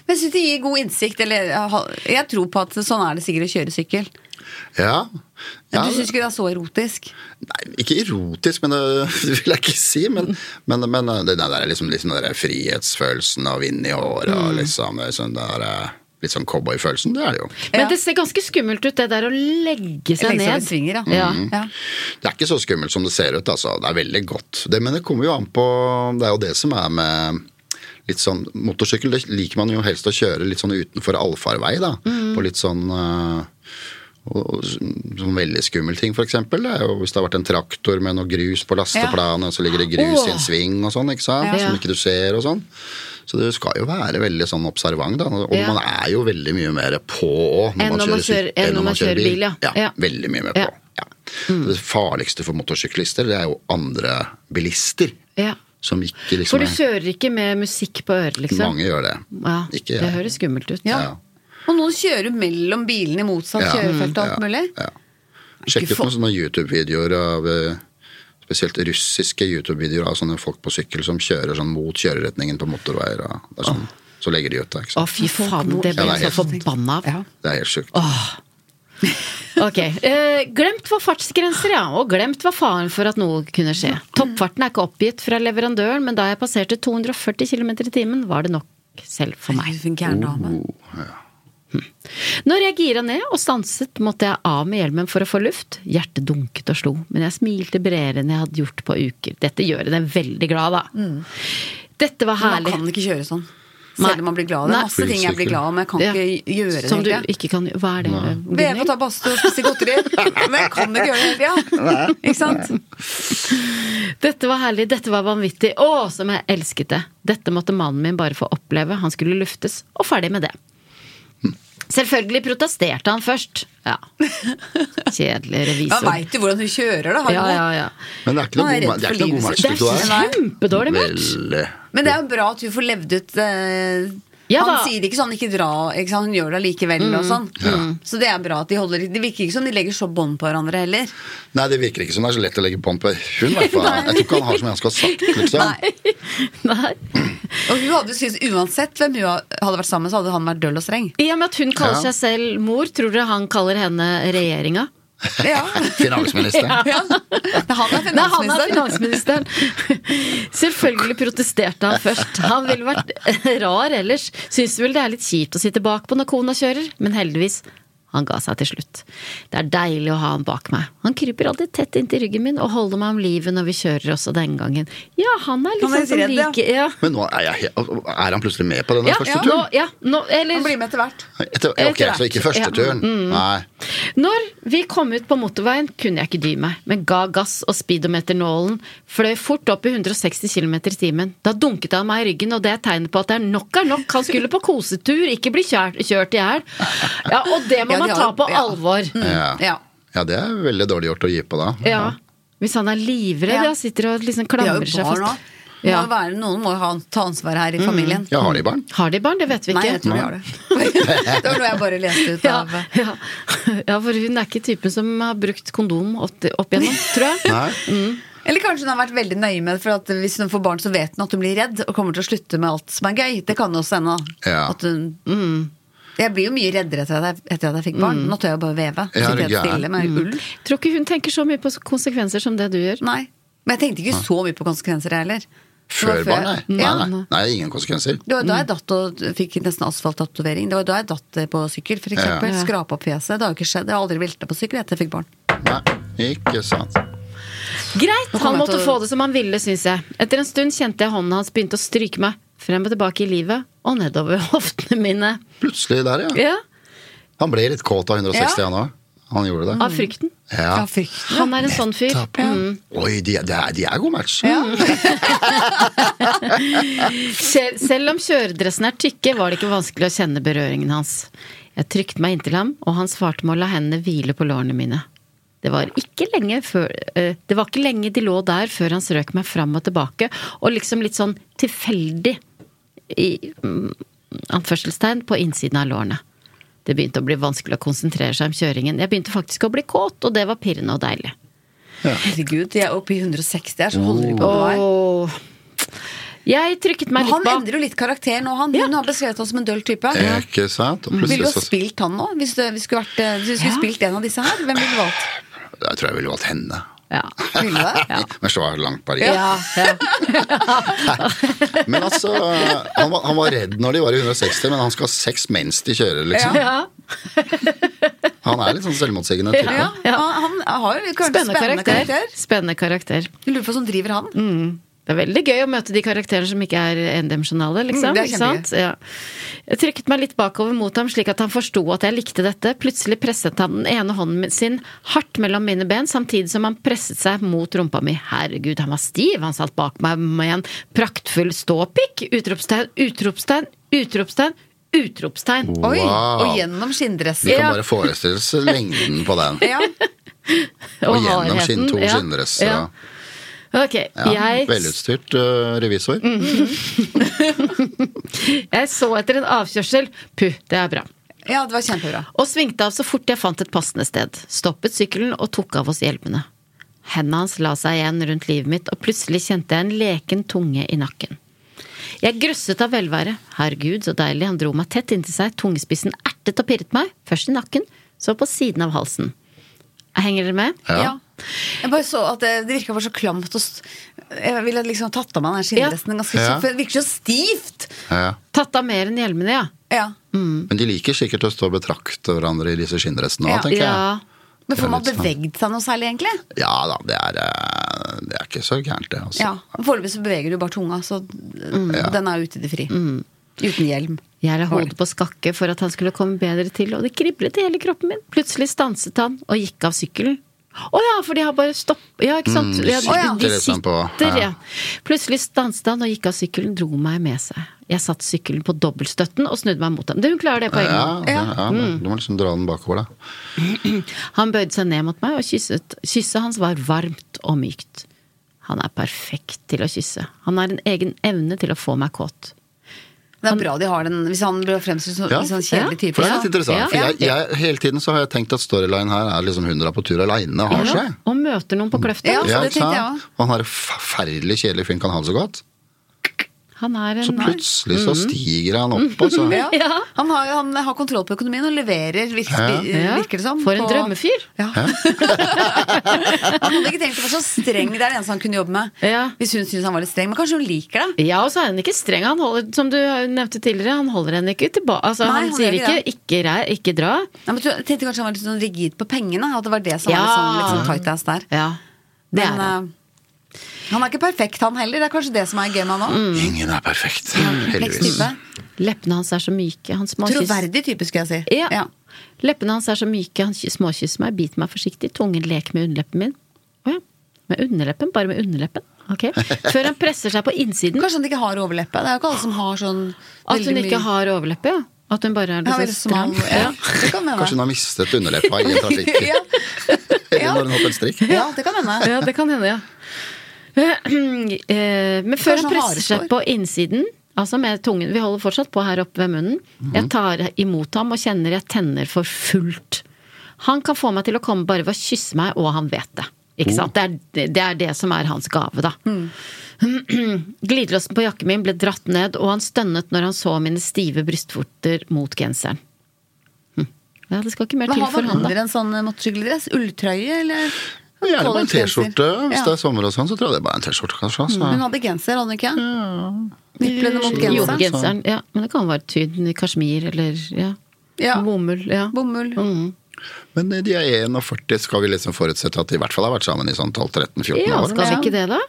[SPEAKER 3] Men jeg synes det gir god innsikt. Eller, jeg tror på at sånn er det sikkert å kjøre sykkel.
[SPEAKER 4] Ja.
[SPEAKER 3] Men
[SPEAKER 4] Ja,
[SPEAKER 3] du syns ikke det er så erotisk?
[SPEAKER 4] Nei, ikke erotisk, men det, det vil jeg ikke si. Men, men, men det der er liksom, liksom den der frihetsfølelsen av vind i håret og liksom, liksom det der, eh, litt sånn cowboyfølelsen, det er det jo.
[SPEAKER 2] Men
[SPEAKER 3] Ja.
[SPEAKER 2] det ser ganske skummelt ut, det der å legge seg
[SPEAKER 3] Legge seg over
[SPEAKER 2] ned.
[SPEAKER 3] svinger, ja.
[SPEAKER 2] Ja.
[SPEAKER 4] Mm.
[SPEAKER 3] Ja.
[SPEAKER 4] Det er ikke så skummelt som det ser ut, altså. Det er veldig godt. Det, men det kommer jo an på Det er jo det som er med litt sånn Motorsykkel det liker man jo helst å kjøre litt sånn utenfor allfarvei, da.
[SPEAKER 2] Mm.
[SPEAKER 4] På litt sånn eh, og, og, sånn veldig skummel ting, for eksempel. Det er jo hvis det har vært en traktor med noe grus på lasteplanet, og så ligger det grus i en sving og sånn, ikke sant.
[SPEAKER 2] Ja.
[SPEAKER 4] Som ikke du ser og sånn. Så du skal jo være veldig sånn observant, da. Og
[SPEAKER 2] Ja.
[SPEAKER 4] man er jo veldig mye mer på når
[SPEAKER 2] Enn når man
[SPEAKER 4] syk-
[SPEAKER 2] kjører- enn når man kjører bil, ja.
[SPEAKER 4] ja.
[SPEAKER 2] Ja.
[SPEAKER 4] Veldig mye mer på.
[SPEAKER 2] Ja.
[SPEAKER 4] Ja. Det farligste for motorsyklister det er jo andre bilister.
[SPEAKER 2] Ja.
[SPEAKER 4] Som ikke liksom
[SPEAKER 2] For du
[SPEAKER 4] er-
[SPEAKER 2] kjører ikke med musikk på øret, liksom?
[SPEAKER 4] Mange gjør det.
[SPEAKER 2] Ja,
[SPEAKER 4] ikke
[SPEAKER 2] Det
[SPEAKER 4] jeg.
[SPEAKER 2] høres skummelt ut.
[SPEAKER 3] Ja.
[SPEAKER 4] Ja.
[SPEAKER 3] Og noen kjører mellom bilene i motsatt
[SPEAKER 4] Ja.
[SPEAKER 3] kjørefelt og
[SPEAKER 4] Ja.
[SPEAKER 3] alt mulig.
[SPEAKER 4] Ja. Sjekk ut
[SPEAKER 3] for-
[SPEAKER 4] noen sånne YouTube-videoer av eh, Spesielt russiske YouTube-videoer av sånne folk på sykkel som kjører sånn mot kjøreretningen på motorveier. Og det er sånn, Så legger de ut det.
[SPEAKER 2] Å,
[SPEAKER 4] ikke sant?
[SPEAKER 2] fy faen, det ble
[SPEAKER 4] Ja, det er
[SPEAKER 2] jeg så forbanna av.
[SPEAKER 3] Ja.
[SPEAKER 4] Det er helt sjukt.
[SPEAKER 2] Ok, eh, Glemt var fartsgrenser, ja. Og glemt var faren for at noe kunne skje. Toppfarten er ikke oppgitt fra leverandøren, men da jeg passerte 240 km i timen, var det nok selv for meg.
[SPEAKER 3] Herregud, for en gæren
[SPEAKER 2] Oh.
[SPEAKER 3] dame.
[SPEAKER 2] Når jeg gira ned og stanset, måtte jeg av med hjelmen for å få luft. Hjertet dunket og slo, men jeg smilte bredere enn jeg hadde gjort på uker. Dette gjør henne veldig glad, da. Dette var
[SPEAKER 3] Mm. Man
[SPEAKER 2] herlig.
[SPEAKER 3] kan ikke kjøre sånn.
[SPEAKER 2] Nei.
[SPEAKER 3] Selv om man blir glad. Det
[SPEAKER 2] Nei.
[SPEAKER 3] er masse ting jeg blir glad av, men jeg kan
[SPEAKER 2] Ja.
[SPEAKER 3] ikke gjøre det
[SPEAKER 2] Som du
[SPEAKER 3] hele tida.
[SPEAKER 2] ikke kan gjøre. Hva er det?
[SPEAKER 3] Være med
[SPEAKER 2] Gunnhild?
[SPEAKER 3] og ta badstue og spise godteri. Men jeg kan ikke gjøre det hele tida. Ikke sant?
[SPEAKER 2] Dette var herlig, dette var vanvittig. Å, som jeg elsket det! Dette måtte mannen min bare få oppleve. Han skulle luftes, og ferdig med det. Selvfølgelig protesterte han først. Ja. Kjedelig
[SPEAKER 3] Man
[SPEAKER 2] revisor.
[SPEAKER 3] veit jo hvordan hun kjører, da.
[SPEAKER 2] Ja,
[SPEAKER 3] hallo.
[SPEAKER 2] ja, ja.
[SPEAKER 4] Men det er ikke
[SPEAKER 3] Man
[SPEAKER 4] noe
[SPEAKER 3] er
[SPEAKER 4] god,
[SPEAKER 3] redd
[SPEAKER 4] det er
[SPEAKER 3] for
[SPEAKER 4] ikke noe
[SPEAKER 3] livet
[SPEAKER 4] god
[SPEAKER 3] sitt.
[SPEAKER 2] Det
[SPEAKER 4] match,
[SPEAKER 2] er kjempedårlig match!
[SPEAKER 4] Veldig.
[SPEAKER 3] Men det er jo bra at hun får levd ut eh,
[SPEAKER 2] Ja
[SPEAKER 3] Han
[SPEAKER 2] da. Mm.
[SPEAKER 3] sier ikke sånn 'ikke dra', ikke sant? hun gjør det allikevel og sånn. Så det er bra at de holder Det virker ikke som de legger så bånd på hverandre heller.
[SPEAKER 4] Nei, det virker ikke som det er så lett å legge bånd på hun, i hvert fall. Jeg tror ikke han har så mye han skal ha sagt, liksom.
[SPEAKER 3] Nei.
[SPEAKER 2] Nei.
[SPEAKER 3] Og hun hadde jo syntes uansett hvem hun hadde vært sammen med, så hadde han vært døll og streng.
[SPEAKER 2] I og med at hun kaller
[SPEAKER 4] Ja.
[SPEAKER 2] seg selv mor, tror dere han kaller henne regjeringa?
[SPEAKER 3] Ja.
[SPEAKER 4] Finansministeren.
[SPEAKER 3] ja. Han er
[SPEAKER 2] Nei, han er
[SPEAKER 3] finansminister.
[SPEAKER 2] finansministeren! Selvfølgelig protesterte han først. Han ville vært rar ellers. Syns vel det er litt kjipt å sitte bakpå når kona kjører, men heldigvis, han ga seg til slutt. Det er deilig å ha han bak meg. Han kryper alltid tett inntil ryggen min og holder meg om livet når vi kjører også den gangen. Ja, han er litt
[SPEAKER 3] Han er
[SPEAKER 2] sånn som
[SPEAKER 3] redd, ja.
[SPEAKER 2] liker ja.
[SPEAKER 4] Men nå er, jeg, he- er han plutselig med på denne
[SPEAKER 2] Ja,
[SPEAKER 4] første
[SPEAKER 2] ja, nå,
[SPEAKER 4] turen?
[SPEAKER 2] ja, nå, eller
[SPEAKER 3] Han blir med etter hvert.
[SPEAKER 4] Etter, ok,
[SPEAKER 2] Etter
[SPEAKER 4] så ikke første
[SPEAKER 2] hvert. Ja. Mm.
[SPEAKER 4] turen. Nei.
[SPEAKER 2] Når vi kom ut på motorveien, kunne jeg ikke dy meg, men ga gass og speedometernålen fløy fort opp i 160 km i timen. Da dunket han meg i ryggen, og det er tegnet på at det er nok er nok. Han skulle på kosetur, ikke bli kjørt, kjørt i hjel. Ja, og det må
[SPEAKER 3] Ja, de
[SPEAKER 2] man
[SPEAKER 3] har-
[SPEAKER 2] ta på
[SPEAKER 3] ja. Mm.
[SPEAKER 2] alvor.
[SPEAKER 4] Ja.
[SPEAKER 3] Ja.
[SPEAKER 4] ja, det er veldig dårlig gjort å gi på da.
[SPEAKER 2] Ja. Hvis han er livredd,
[SPEAKER 3] Ja.
[SPEAKER 2] ja, sitter og liksom
[SPEAKER 3] De har
[SPEAKER 2] klamrer
[SPEAKER 3] jo
[SPEAKER 2] seg
[SPEAKER 3] barn
[SPEAKER 2] fast.
[SPEAKER 3] òg.
[SPEAKER 2] Ja.
[SPEAKER 3] Noen må jo ha- ta ansvar her i familien.
[SPEAKER 4] Ja, har de barn?
[SPEAKER 2] Har de barn? Det vet vi
[SPEAKER 3] Nei,
[SPEAKER 2] ikke.
[SPEAKER 3] jeg tror de har det. Det var noe jeg bare leste ut
[SPEAKER 2] ja,
[SPEAKER 3] av.
[SPEAKER 2] ja. ja, for hun er ikke typen som har brukt kondom opp, opp igjennom, tror jeg.
[SPEAKER 4] Nei.
[SPEAKER 3] Eller kanskje hun har vært veldig nøye med det, for at hvis hun får barn, så vet hun at hun blir redd og kommer til å slutte med alt som er gøy. Det kan jo også hende.
[SPEAKER 4] Ja.
[SPEAKER 3] At hun mm. Jeg blir jo mye reddere etter at jeg, etter at jeg fikk barn. Nå tør jeg bare veve.
[SPEAKER 4] Mm. Ja, er
[SPEAKER 3] Sitte
[SPEAKER 4] du
[SPEAKER 3] helt
[SPEAKER 4] gæren? Mm.
[SPEAKER 3] stille med ull.
[SPEAKER 2] Tror ikke hun tenker så mye på konsekvenser som det du gjør.
[SPEAKER 3] Nei. Men jeg tenkte ikke så mye på konsekvenser, jeg heller.
[SPEAKER 4] Før
[SPEAKER 3] Det var
[SPEAKER 4] barn, nei.
[SPEAKER 3] jeg-
[SPEAKER 4] Nei, Mm.
[SPEAKER 3] Ja.
[SPEAKER 4] nei. nei ingen konsekvenser.
[SPEAKER 3] Det var da jeg datt og fikk nesten asfalttatovering. Det var da jeg datt på sykkel, for eksempel.
[SPEAKER 2] Ja.
[SPEAKER 3] Skrapa opp fjeset. Det har jo ikke skjedd. Jeg har aldri velta på sykkel etter jeg fikk barn.
[SPEAKER 4] Nei, ikke sant.
[SPEAKER 2] Greit,
[SPEAKER 3] kommer
[SPEAKER 2] han
[SPEAKER 3] jeg
[SPEAKER 2] måtte
[SPEAKER 3] til å-
[SPEAKER 2] få det som han ville, syns jeg. Etter en stund kjente jeg hånden hans begynte å stryke meg frem og tilbake i livet og nedover hoftene mine.
[SPEAKER 4] Plutselig der, ja.
[SPEAKER 2] Ja,
[SPEAKER 4] Han ble litt kåt av 160
[SPEAKER 3] Ja.
[SPEAKER 4] han òg. Han gjorde det.
[SPEAKER 2] Av frykten.
[SPEAKER 4] Ja.
[SPEAKER 3] Ja, frykt.
[SPEAKER 2] Han er en sånn fyr.
[SPEAKER 4] Nettopp. Oi, de, de, er, de er god match.
[SPEAKER 2] Sel- Selv om kjøredressen er tykke, var det ikke vanskelig å kjenne berøringen hans. Jeg trykte meg inntil ham, og han svarte med å la hendene hvile på lårene mine. Det var, ikke lenge før, eh, det var ikke lenge de lå der før han strøk meg fram og tilbake, og liksom litt sånn tilfeldig, i mm, anførselstegn, på innsiden av lårene. Det begynte å bli vanskelig å konsentrere seg om kjøringen. Jeg begynte faktisk å bli kåt, og det var pirrende og deilig.
[SPEAKER 3] Herregud, jeg er oppe i 160
[SPEAKER 4] Oh.
[SPEAKER 3] her, så holder de på med meg.
[SPEAKER 2] Åh. Jeg trykket meg litt
[SPEAKER 3] Han
[SPEAKER 2] bak.
[SPEAKER 3] endrer jo litt karakter nå. Han, Hun har beskrevet han som en døll type.
[SPEAKER 4] Ikke sant?
[SPEAKER 2] Mm.
[SPEAKER 4] Og
[SPEAKER 3] Ville du
[SPEAKER 4] plutselig
[SPEAKER 3] ha
[SPEAKER 4] så
[SPEAKER 3] spilt han nå? Hvis du, hvis du skulle, vært, eh, hvis du skulle spilt en av disse her, hvem ville du valgt?
[SPEAKER 4] Jeg tror jeg ville valgt henne.
[SPEAKER 2] Ja.
[SPEAKER 3] Ville du det?
[SPEAKER 4] Men så er det langt Paris.
[SPEAKER 2] Ja, ja.
[SPEAKER 4] Men altså, han var, han var redd når de var i 160, men han skal ha sex mens de kjører, liksom.
[SPEAKER 2] Ja.
[SPEAKER 4] Han er litt sånn selvmotsigende type.
[SPEAKER 3] Ja, Han, han har jo kanskje
[SPEAKER 2] Spennende karakter. Mm. Spennende karakter.
[SPEAKER 3] Jeg lurer på hva som driver han.
[SPEAKER 2] Det er veldig gøy å møte de karakterene som ikke er endimensjonale. Liksom,
[SPEAKER 3] Mm, det er
[SPEAKER 2] ikke sant? ja. Jeg trykket meg litt bakover mot ham, slik at han forsto at jeg likte dette. Plutselig presset han den ene hånden min- sin hardt mellom mine ben, samtidig som han presset seg mot rumpa mi. Herregud, han var stiv! Han satt bak meg med en praktfull ståpikk! Utropstegn, utropstegn, utropstegn, utropstegn!
[SPEAKER 3] Oi,
[SPEAKER 4] Wow.
[SPEAKER 3] Og gjennom
[SPEAKER 4] Du
[SPEAKER 3] skinndressen.
[SPEAKER 4] kan
[SPEAKER 2] Ja.
[SPEAKER 4] bare forestille seg lengden på den.
[SPEAKER 3] Ja.
[SPEAKER 4] Og gjennom skinn, to
[SPEAKER 2] ja,
[SPEAKER 4] skinndresser.
[SPEAKER 2] ja.
[SPEAKER 4] og-
[SPEAKER 2] Ok,
[SPEAKER 4] Ja,
[SPEAKER 2] jeg
[SPEAKER 4] Velutstyrt øh, revisor.
[SPEAKER 2] Jeg så etter en avkjørsel. Puh, det er bra.
[SPEAKER 3] ja, det var kjempebra.
[SPEAKER 2] Og svingte av så fort jeg fant et passende sted. Stoppet sykkelen og tok av oss hjelmene. Hendene hans la seg igjen rundt livet mitt, og plutselig kjente jeg en leken tunge i nakken. Jeg grøsset av velvære. Herregud, så deilig. Han dro meg tett inntil seg. Tungespissen ertet og pirret meg. Først i nakken, så på siden av halsen. Henger dere med?
[SPEAKER 4] Ja.
[SPEAKER 3] Ja. Jeg bare så at det, det virka bare så klamt. Og st jeg ville liksom tatt av meg den skinndressen. ganske
[SPEAKER 4] Ja.
[SPEAKER 3] så- for Det virker så stivt!
[SPEAKER 4] Ja.
[SPEAKER 2] Tatt av mer enn hjelmene, ja.
[SPEAKER 3] Ja.
[SPEAKER 2] Mm.
[SPEAKER 4] Men de liker sikkert å stå og betrakte hverandre i disse skinndressene òg,
[SPEAKER 3] Ja.
[SPEAKER 4] tenker
[SPEAKER 2] Ja.
[SPEAKER 3] Men
[SPEAKER 4] Det er
[SPEAKER 3] får man
[SPEAKER 4] litt sånn.
[SPEAKER 3] beveget seg noe særlig, egentlig?
[SPEAKER 4] jeg. Ja da, det er, øh, det er ikke så gærent, det. Altså.
[SPEAKER 3] Ja. Foreløpig så beveger du bare tunga, så den er ute i det fri. Uten hjelm.
[SPEAKER 2] Mm. Jeg la hodet på skakke for at han skulle komme bedre til, og det kriblet i hele kroppen min. Plutselig stanset han og gikk av sykkelen. Å ja, for de har bare stopp... Ja, ikke sant?
[SPEAKER 4] Mm,
[SPEAKER 2] Ja,
[SPEAKER 4] sitter
[SPEAKER 2] de- de
[SPEAKER 4] litt sånn på-
[SPEAKER 2] sitter,
[SPEAKER 4] ja.
[SPEAKER 2] ja. Plutselig stanset han og gikk av sykkelen, dro meg med seg. Jeg satte sykkelen på dobbeltstøtten og snudde meg mot ham. Du, hun klarer det på egen
[SPEAKER 4] Ja,
[SPEAKER 2] hånd.
[SPEAKER 4] ja, ja, Du må liksom dra den bakover, da.
[SPEAKER 2] Han bøyde seg ned mot meg, og kysset. kysset hans var varmt og mykt. Han er perfekt til å kysse. Han har en egen evne til å få meg kåt.
[SPEAKER 3] Det er bra de har den, hvis han blir fremstilt som
[SPEAKER 4] Ja.
[SPEAKER 3] en sånn kjedelig type.
[SPEAKER 4] For det er litt
[SPEAKER 3] Ja.
[SPEAKER 4] interessant.
[SPEAKER 2] Ja,
[SPEAKER 4] for
[SPEAKER 2] ja.
[SPEAKER 4] jeg, jeg, hele tiden så har jeg tenkt at storyline her er liksom hun drar på tur aleine og har seg.
[SPEAKER 2] Og møter noen på kløfta.
[SPEAKER 3] Ja. det
[SPEAKER 4] ikke
[SPEAKER 3] tenkte jeg
[SPEAKER 4] sant?
[SPEAKER 3] også.
[SPEAKER 4] Og han har en forferdelig kjedelig fyren kan ha det så godt.
[SPEAKER 2] Han er
[SPEAKER 4] Så
[SPEAKER 2] en
[SPEAKER 4] plutselig så stiger han opp, altså.
[SPEAKER 3] Ja.
[SPEAKER 2] Ja.
[SPEAKER 3] Han, har, han har kontroll på økonomien og leverer, virker, eh,
[SPEAKER 2] Ja.
[SPEAKER 3] virker det som.
[SPEAKER 2] For en
[SPEAKER 3] på-
[SPEAKER 2] drømmefyr.
[SPEAKER 3] Ja. han hadde ikke tenkt å være så streng. Det er det eneste han kunne jobbe med.
[SPEAKER 2] Ja.
[SPEAKER 3] Hvis hun syns han var litt streng. Men kanskje hun liker det.
[SPEAKER 2] Ja, og så er han ikke streng. Han holder, som du nevnte tidligere, han holder henne ikke tilbake. Altså,
[SPEAKER 3] Nei,
[SPEAKER 2] han
[SPEAKER 3] han
[SPEAKER 2] sier
[SPEAKER 3] gjør
[SPEAKER 2] ikke
[SPEAKER 3] ikke
[SPEAKER 2] 'ikke, rei- ikke dra'.
[SPEAKER 3] Ja, men jeg tenkte kanskje han var litt sånn rigid på pengene. At det var det som
[SPEAKER 2] Ja.
[SPEAKER 3] var litt sånn, litt sånn tight ass der.
[SPEAKER 2] Ja, det
[SPEAKER 3] Men,
[SPEAKER 2] er han.
[SPEAKER 3] eh, han er ikke perfekt, han heller. Det er kanskje det som er gamet nå.
[SPEAKER 2] Mm.
[SPEAKER 4] Ingen er perfekt.
[SPEAKER 3] Kompleks
[SPEAKER 4] Heldigvis.
[SPEAKER 3] type.
[SPEAKER 2] Leppene hans er så myke. Han småkysser
[SPEAKER 3] eh, Troverdig type, skulle jeg si.
[SPEAKER 2] ja. Leppene hans er så myke, han kys- småkysser meg, biter meg forsiktig, tungen leker med underleppen min. Å ja. Med underleppen? Bare med underleppen? Ok. Før han presser seg på innsiden.
[SPEAKER 3] Kanskje han ikke har overleppe. Det er jo ikke alle som har sånn
[SPEAKER 2] At hun
[SPEAKER 3] veldig
[SPEAKER 2] ikke
[SPEAKER 3] mye-
[SPEAKER 2] har overleppe, ja. At hun bare er liksom
[SPEAKER 3] Ja,
[SPEAKER 2] litt
[SPEAKER 3] veldig
[SPEAKER 2] så
[SPEAKER 3] smal.
[SPEAKER 2] stram.
[SPEAKER 3] Ja, det kan hende.
[SPEAKER 4] Kanskje hun har mistet underleppa i en trafikk.
[SPEAKER 3] ja.
[SPEAKER 4] Eller når hun hopper en strikk.
[SPEAKER 3] ja, det kan hende.
[SPEAKER 2] Ja, det kan hende, ja. Eh, Men før hun
[SPEAKER 3] Kanskje han har
[SPEAKER 2] presser seg
[SPEAKER 3] hår?
[SPEAKER 2] på innsiden, altså med tungen Vi holder fortsatt på her oppe ved munnen. Jeg tar imot ham og kjenner jeg tenner for fullt. Han kan få meg til å komme bare ved å kysse meg, og han vet det. Ikke sant? Det, er, det er det som er hans gave, da.
[SPEAKER 3] Mm.
[SPEAKER 2] Glidelåsen på jakken min ble dratt ned, og han stønnet når han så mine stive brystvorter mot genseren. Hm. Ja, det skal ikke mer
[SPEAKER 3] Men
[SPEAKER 2] til
[SPEAKER 3] har
[SPEAKER 2] for
[SPEAKER 3] man
[SPEAKER 2] han, da.
[SPEAKER 3] under en sånn eh, motorsykkeldress? Ulltrøye, eller?
[SPEAKER 4] Gjerne bare en
[SPEAKER 3] Collegegenser.
[SPEAKER 4] T-skjorte. Hvis
[SPEAKER 3] Ja.
[SPEAKER 4] det er sommer og sånn, så tror jeg det er bare en T-skjorte, kanskje. altså.
[SPEAKER 2] Mm.
[SPEAKER 3] Hun hadde genser, hadde hun ikke? Niplene mot
[SPEAKER 2] Jo,
[SPEAKER 3] genseren.
[SPEAKER 2] genseren. Ja, men det kan være tynn i kasjmir eller ja.
[SPEAKER 3] Ja.
[SPEAKER 2] bomull. Ja.
[SPEAKER 3] Bomull.
[SPEAKER 2] Mm.
[SPEAKER 4] Men eh, de er 41, skal vi liksom forutsette at de i hvert fall har vært sammen i sånn 12-13-14
[SPEAKER 2] ja,
[SPEAKER 4] år?
[SPEAKER 2] skal vi ikke det, da?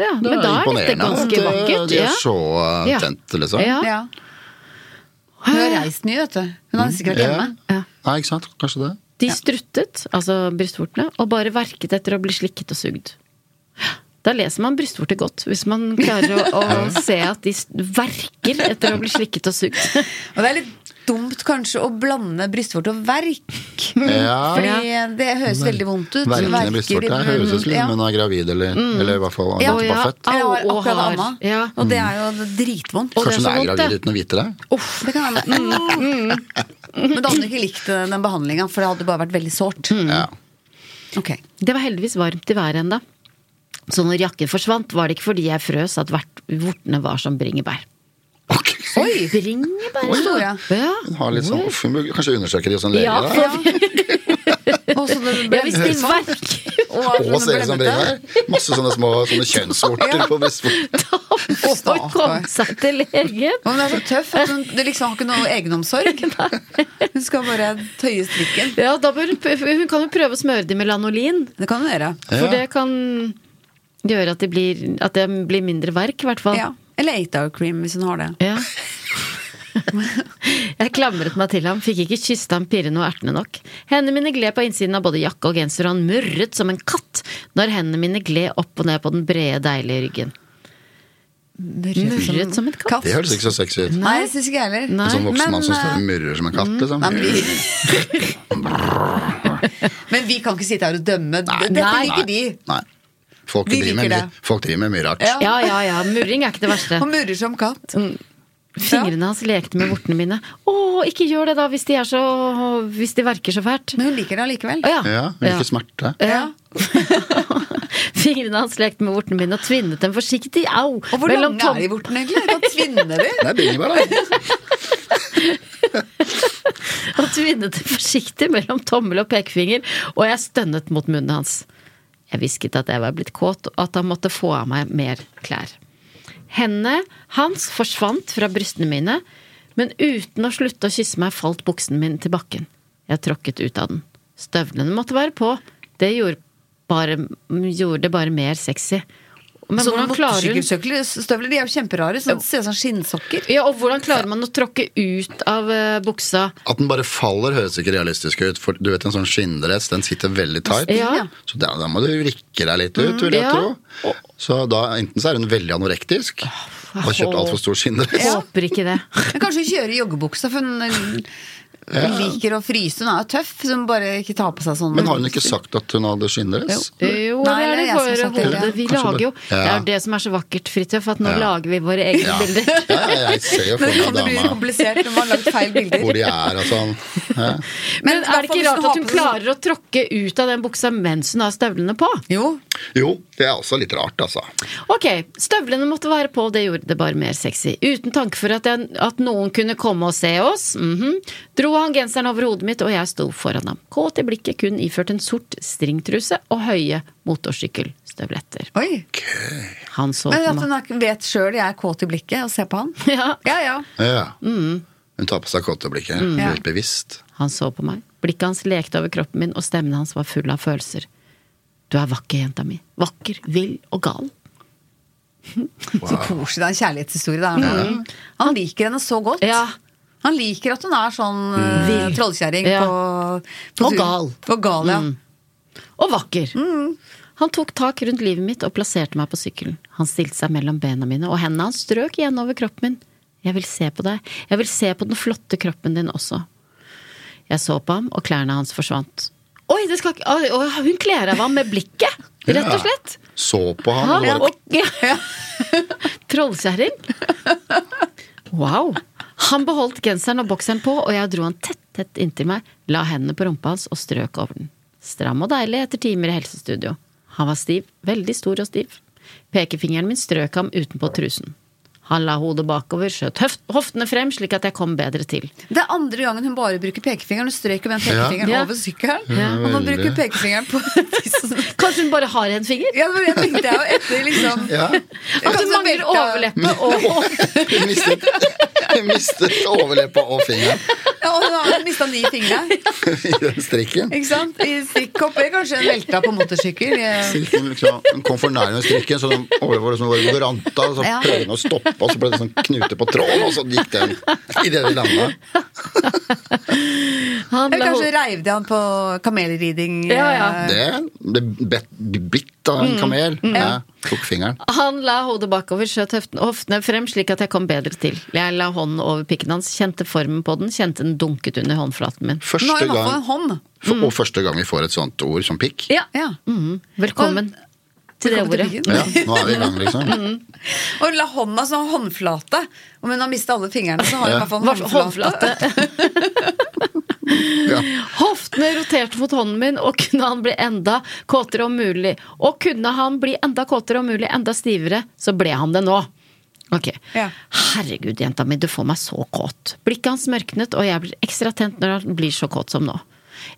[SPEAKER 2] Ja,
[SPEAKER 4] Det
[SPEAKER 2] men da er dette
[SPEAKER 4] imponerende at,
[SPEAKER 2] ganske
[SPEAKER 4] eh,
[SPEAKER 2] vakkert.
[SPEAKER 4] De er
[SPEAKER 2] Ja.
[SPEAKER 4] så eh,
[SPEAKER 2] Ja.
[SPEAKER 4] tent, liksom.
[SPEAKER 2] Ja.
[SPEAKER 3] Ja. Hun har reist mye, vet du. Hun har sikkert vært hjemme.
[SPEAKER 2] Ja.
[SPEAKER 4] Nei, ikke sant? Kanskje det.
[SPEAKER 2] De struttet, altså brystvortene, og bare verket etter å bli slikket og sugd. Da leser man brystvorter godt, hvis man klarer å, å se at de s- verker etter å bli slikket og sugd.
[SPEAKER 3] Og det er litt dumt kanskje å blande brystvorte og verk.
[SPEAKER 4] Ja.
[SPEAKER 3] Fordi det høres veldig vondt ut.
[SPEAKER 4] Verkende
[SPEAKER 3] Verker i
[SPEAKER 4] brystvorte. Det
[SPEAKER 3] munnen,
[SPEAKER 2] mm,
[SPEAKER 4] høres ut som
[SPEAKER 3] ja.
[SPEAKER 4] hun er gravid, eller, eller i hvert fall har
[SPEAKER 3] Ja.
[SPEAKER 4] gått
[SPEAKER 3] Å,
[SPEAKER 4] på
[SPEAKER 3] ja.
[SPEAKER 4] født.
[SPEAKER 3] Eller har
[SPEAKER 2] Au, og
[SPEAKER 3] akkurat
[SPEAKER 2] har.
[SPEAKER 3] amma.
[SPEAKER 2] Ja.
[SPEAKER 3] Og det er jo dritvondt.
[SPEAKER 2] Og det er
[SPEAKER 4] Kanskje hun
[SPEAKER 2] så
[SPEAKER 4] er
[SPEAKER 2] vondt,
[SPEAKER 4] gravid
[SPEAKER 2] det.
[SPEAKER 4] uten å vite det?
[SPEAKER 3] Det kan hende. Mm. Men da hadde du ikke likt eh, den den behandlinga, for det hadde bare vært veldig sårt.
[SPEAKER 2] Mm.
[SPEAKER 4] Ja.
[SPEAKER 3] Ok.
[SPEAKER 2] Det var heldigvis varmt i været ennå. Så når jakken forsvant, var det ikke fordi jeg frøs at vert- vortene var som bringebær.
[SPEAKER 4] Ok.
[SPEAKER 3] Oi!
[SPEAKER 2] Bringebær?
[SPEAKER 3] Oi, ja.
[SPEAKER 2] Ja.
[SPEAKER 4] Hun har litt sånn, hun bør kanskje undersøke det hos en lege.
[SPEAKER 2] Ja,
[SPEAKER 4] da.
[SPEAKER 2] for-
[SPEAKER 3] Og så det
[SPEAKER 2] Ja, hvis det
[SPEAKER 3] bremte.
[SPEAKER 2] verker
[SPEAKER 4] Og
[SPEAKER 3] Og
[SPEAKER 4] ser ut som bremer. Masse sånne små sånne kjønnsvorter på brystvorten.
[SPEAKER 2] å komme seg til legen
[SPEAKER 3] Hun er så tøff at hun du liksom har ikke noe egenomsorg. Hun skal bare tøye strikken.
[SPEAKER 2] Ja, da bør hun, p- hun kan jo prøve å smøre dem med lanolin.
[SPEAKER 3] Det kan hun gjøre.
[SPEAKER 2] For
[SPEAKER 4] Ja.
[SPEAKER 2] det kan gjøre at det blir, at det blir mindre verk, i hvert fall.
[SPEAKER 3] Ja. Eller 8-hour cream, hvis hun har det.
[SPEAKER 2] Ja. Jeg klamret meg til ham, fikk ikke kysset ham pirrende og ertende nok. Hendene mine gled på innsiden av både jakke og genser, og han murret som en katt når hendene mine gled opp og ned på den brede, deilige ryggen. Murret som en katt?
[SPEAKER 4] Det høres ikke så sexy ut.
[SPEAKER 3] Nei, det syns ikke jeg heller.
[SPEAKER 2] Nei.
[SPEAKER 4] En sånn voksen
[SPEAKER 3] Men,
[SPEAKER 4] mann som
[SPEAKER 3] eh, Mm,
[SPEAKER 4] står og murrer som en katt, liksom.
[SPEAKER 3] Nei, men, vi... men vi kan ikke sitte her og dømme. Dette
[SPEAKER 2] Nei.
[SPEAKER 3] liker de.
[SPEAKER 4] Nei. Folk
[SPEAKER 3] Vi
[SPEAKER 4] driver, med
[SPEAKER 3] liker
[SPEAKER 4] mye,
[SPEAKER 3] det.
[SPEAKER 4] folk driver med mye rart.
[SPEAKER 3] Ja.
[SPEAKER 2] Ja, ja, ja. Murring er ikke det verste.
[SPEAKER 3] Og murrer som katt.
[SPEAKER 2] Fingrene hans lekte med vortene mine. Å, ikke gjør det, da, hvis de, er så, hvis de verker så fælt.
[SPEAKER 3] Men hun liker det allikevel.
[SPEAKER 2] Å, ja.
[SPEAKER 4] Ja, hun liker smerte.
[SPEAKER 2] Ja. Fingrene hans lekte med vortene mine og tvinnet dem forsiktig. Au!
[SPEAKER 3] Og hvor
[SPEAKER 2] mellom
[SPEAKER 3] lange er
[SPEAKER 2] tom-
[SPEAKER 3] de vorten egentlig? Hva tvinner de?
[SPEAKER 4] Det er bringebær, da.
[SPEAKER 2] og tvinnet det forsiktig mellom tommel og pekefinger, og jeg stønnet mot munnen hans. Jeg hvisket at jeg var blitt kåt, og at han måtte få av meg mer klær. Hendene hans forsvant fra brystene mine, men uten å slutte å kysse meg falt buksen min til bakken. Jeg tråkket ut av den. Støvlene måtte være på. Det gjorde, bare, gjorde det bare mer sexy. Men
[SPEAKER 3] Sånne
[SPEAKER 2] hvordan klarer hun
[SPEAKER 3] motorsykkelstøvler de er jo kjemperare. Sånn, ser ut som skinnsokker.
[SPEAKER 2] ja, og hvordan klarer man å tråkke ut av eh, buksa?
[SPEAKER 4] At den bare faller, høres ikke realistisk ut. For du vet en sånn skinndress, den sitter veldig tight.
[SPEAKER 2] Ja.
[SPEAKER 4] Så da, da må du rikke deg litt ut, vil jeg
[SPEAKER 2] ja.
[SPEAKER 4] tro. Så da enten så er hun veldig anorektisk og har kjøpt altfor stor skinndress.
[SPEAKER 2] Jeg håper ikke det.
[SPEAKER 3] Men kanskje hun kjører i joggebuksa, for hun liker å fryse. Hun er jo tøff, så hun bare ikke tar på seg sånn.
[SPEAKER 4] Men har hun ikke sagt at hun hadde skinndress?
[SPEAKER 2] Jo,
[SPEAKER 3] Nei,
[SPEAKER 2] det er det
[SPEAKER 3] det er jeg som har
[SPEAKER 2] våre
[SPEAKER 3] sagt det,
[SPEAKER 2] hoder.
[SPEAKER 3] ja.
[SPEAKER 2] Vi
[SPEAKER 4] Kanskje
[SPEAKER 2] lager jo Det
[SPEAKER 4] det- Ja.
[SPEAKER 2] er det som er så vakkert, Fridtjof, at nå
[SPEAKER 4] Ja.
[SPEAKER 2] lager vi våre egne
[SPEAKER 4] Ja.
[SPEAKER 2] bilder.
[SPEAKER 4] Ja, ja, jeg ser jo
[SPEAKER 3] Men
[SPEAKER 4] for
[SPEAKER 3] det
[SPEAKER 4] meg
[SPEAKER 3] kan det bli
[SPEAKER 4] dama
[SPEAKER 3] komplisert når man har lagt feil bilder.
[SPEAKER 4] hvor de er og sånn. Ja.
[SPEAKER 2] Men
[SPEAKER 3] i
[SPEAKER 2] er
[SPEAKER 3] hvert
[SPEAKER 2] det
[SPEAKER 3] fall
[SPEAKER 2] ikke
[SPEAKER 3] hvis
[SPEAKER 2] rart
[SPEAKER 3] har
[SPEAKER 2] at hun
[SPEAKER 3] på seg sånn-
[SPEAKER 2] klarer å tråkke ut av den buksa mens hun har støvlene på?
[SPEAKER 3] Jo,
[SPEAKER 4] Jo, det er også litt rart, altså.
[SPEAKER 2] Ok, støvlene måtte være på, det gjorde det bare mer sexy. Uten tanke for at, jeg, at noen kunne komme og se oss. mhm. Dro han genseren over hodet mitt, og jeg sto foran ham. Kåt i blikket, kun iført en sort stringtruse og høye motorsykkelstøvletter.
[SPEAKER 3] oi.
[SPEAKER 2] Han så
[SPEAKER 3] Men
[SPEAKER 2] på
[SPEAKER 3] at
[SPEAKER 2] meg.
[SPEAKER 3] hun er- vet sjøl jeg er kåt i blikket, og ser på han.
[SPEAKER 2] Ja.
[SPEAKER 3] Ja, ja.
[SPEAKER 4] Ja.
[SPEAKER 2] Mm.
[SPEAKER 4] Hun tar på seg kåteblikket, helt bevisst.
[SPEAKER 2] Han så på meg. Blikket hans lekte over kroppen min, og stemmen hans var full av følelser. Du er vakker, jenta mi. Vakker, vill og gal.
[SPEAKER 3] Så koselig. Det er en kjærlighetshistorie. Det er noe. Han liker henne så godt.
[SPEAKER 2] Ja.
[SPEAKER 3] Han liker at hun er sånn mm. trollkjerring
[SPEAKER 2] Ja.
[SPEAKER 3] på, på
[SPEAKER 2] Og
[SPEAKER 3] tur.
[SPEAKER 2] gal. Mm.
[SPEAKER 3] Og gal, ja.
[SPEAKER 2] Og vakker! Han tok tak rundt livet mitt og plasserte meg på sykkelen. Han stilte seg mellom bena mine, og hendene hans strøk igjen over kroppen min. Jeg vil se på deg. Jeg vil se på den flotte kroppen din også. Jeg så på ham, og klærne hans forsvant. Oi, det skal ikke Oi, oi, Hun kler av ham med blikket! Rett og
[SPEAKER 4] Ja.
[SPEAKER 2] slett.
[SPEAKER 4] Så på han og
[SPEAKER 2] Ja,
[SPEAKER 4] bare
[SPEAKER 2] og- ja. Trollkjerring. Wow. Han beholdt genseren og bokseren på, og jeg dro han tett tett inntil meg, la hendene på rumpa hans og strøk over den. Stram og deilig etter timer i helsestudio. Han var stiv, veldig stor og stiv. Pekefingeren min strøk ham utenpå trusen. Han la hodet bakover, skjøt høft, hoftene frem slik at jeg kom bedre til.
[SPEAKER 3] Det er andre gangen hun bare bruker pekefingeren. Hun strøker med den pekefingeren
[SPEAKER 2] Ja.
[SPEAKER 3] over sykkelen.
[SPEAKER 2] Ja.
[SPEAKER 3] Og nå
[SPEAKER 4] Veldig.
[SPEAKER 3] bruker hun pekefingeren på tissen.
[SPEAKER 2] Kanskje hun bare har en finger?
[SPEAKER 3] Ja, men jeg tenkte jeg jo etter liksom
[SPEAKER 4] Ja.
[SPEAKER 2] At hun
[SPEAKER 3] Kanskje
[SPEAKER 2] mangler
[SPEAKER 3] velta-
[SPEAKER 2] overleppe og
[SPEAKER 4] Hun mistet, hun mistet overleppa og fingeren
[SPEAKER 3] Ja, og hun har mista ni fingre.
[SPEAKER 4] i den strikken.
[SPEAKER 3] Ikke sant? I strikkhoppet. Kanskje hun velta på motorsykkel. eh,
[SPEAKER 4] Strikken liksom, hun kom for nær med strikken, så den overlever liksom hvor det ranta. Så
[SPEAKER 3] Ja.
[SPEAKER 4] prøvde hun å stoppe, og så ble det sånn knute på tråden, og så gikk den i det de landa.
[SPEAKER 2] Han la
[SPEAKER 3] Eller
[SPEAKER 2] ho-
[SPEAKER 3] kanskje reiv de han på kamelriding. eh,
[SPEAKER 2] Ja, ja.
[SPEAKER 4] Det ble bet- bitt av en kamel. Ja, tok fingeren.
[SPEAKER 2] Han la hodet bakover, skjøt høften- hoftene frem slik at jeg kom bedre til. Jeg la hånden over pikken hans, kjente formen på den, kjente den dunket under håndflaten min.
[SPEAKER 3] Nå har
[SPEAKER 4] Første
[SPEAKER 3] hun i hvert fall
[SPEAKER 4] gang,
[SPEAKER 3] en hånd.
[SPEAKER 4] for, og første gang vi får et sånt ord som pikk.
[SPEAKER 2] Ja.
[SPEAKER 3] Ja.
[SPEAKER 2] Velkommen til det
[SPEAKER 3] Velkommen til
[SPEAKER 2] ordet.
[SPEAKER 3] byen.
[SPEAKER 4] Ja, nå er vi i gang, liksom.
[SPEAKER 3] Og hun la hånda som håndflate. Om hun har mista alle fingrene, så har hun i hvert fall en
[SPEAKER 2] Hva-
[SPEAKER 3] håndflate.
[SPEAKER 2] Håndflate. Hoftene roterte mot hånden min, og kunne han bli enda kåtere om mulig? Og kunne han bli enda kåtere om mulig, enda stivere, så ble han det nå. Ok.
[SPEAKER 3] Ja.
[SPEAKER 2] Herregud, jenta mi, du får meg så kåt. Blikket hans mørknet, og jeg blir ekstra tent når han blir så kåt som nå.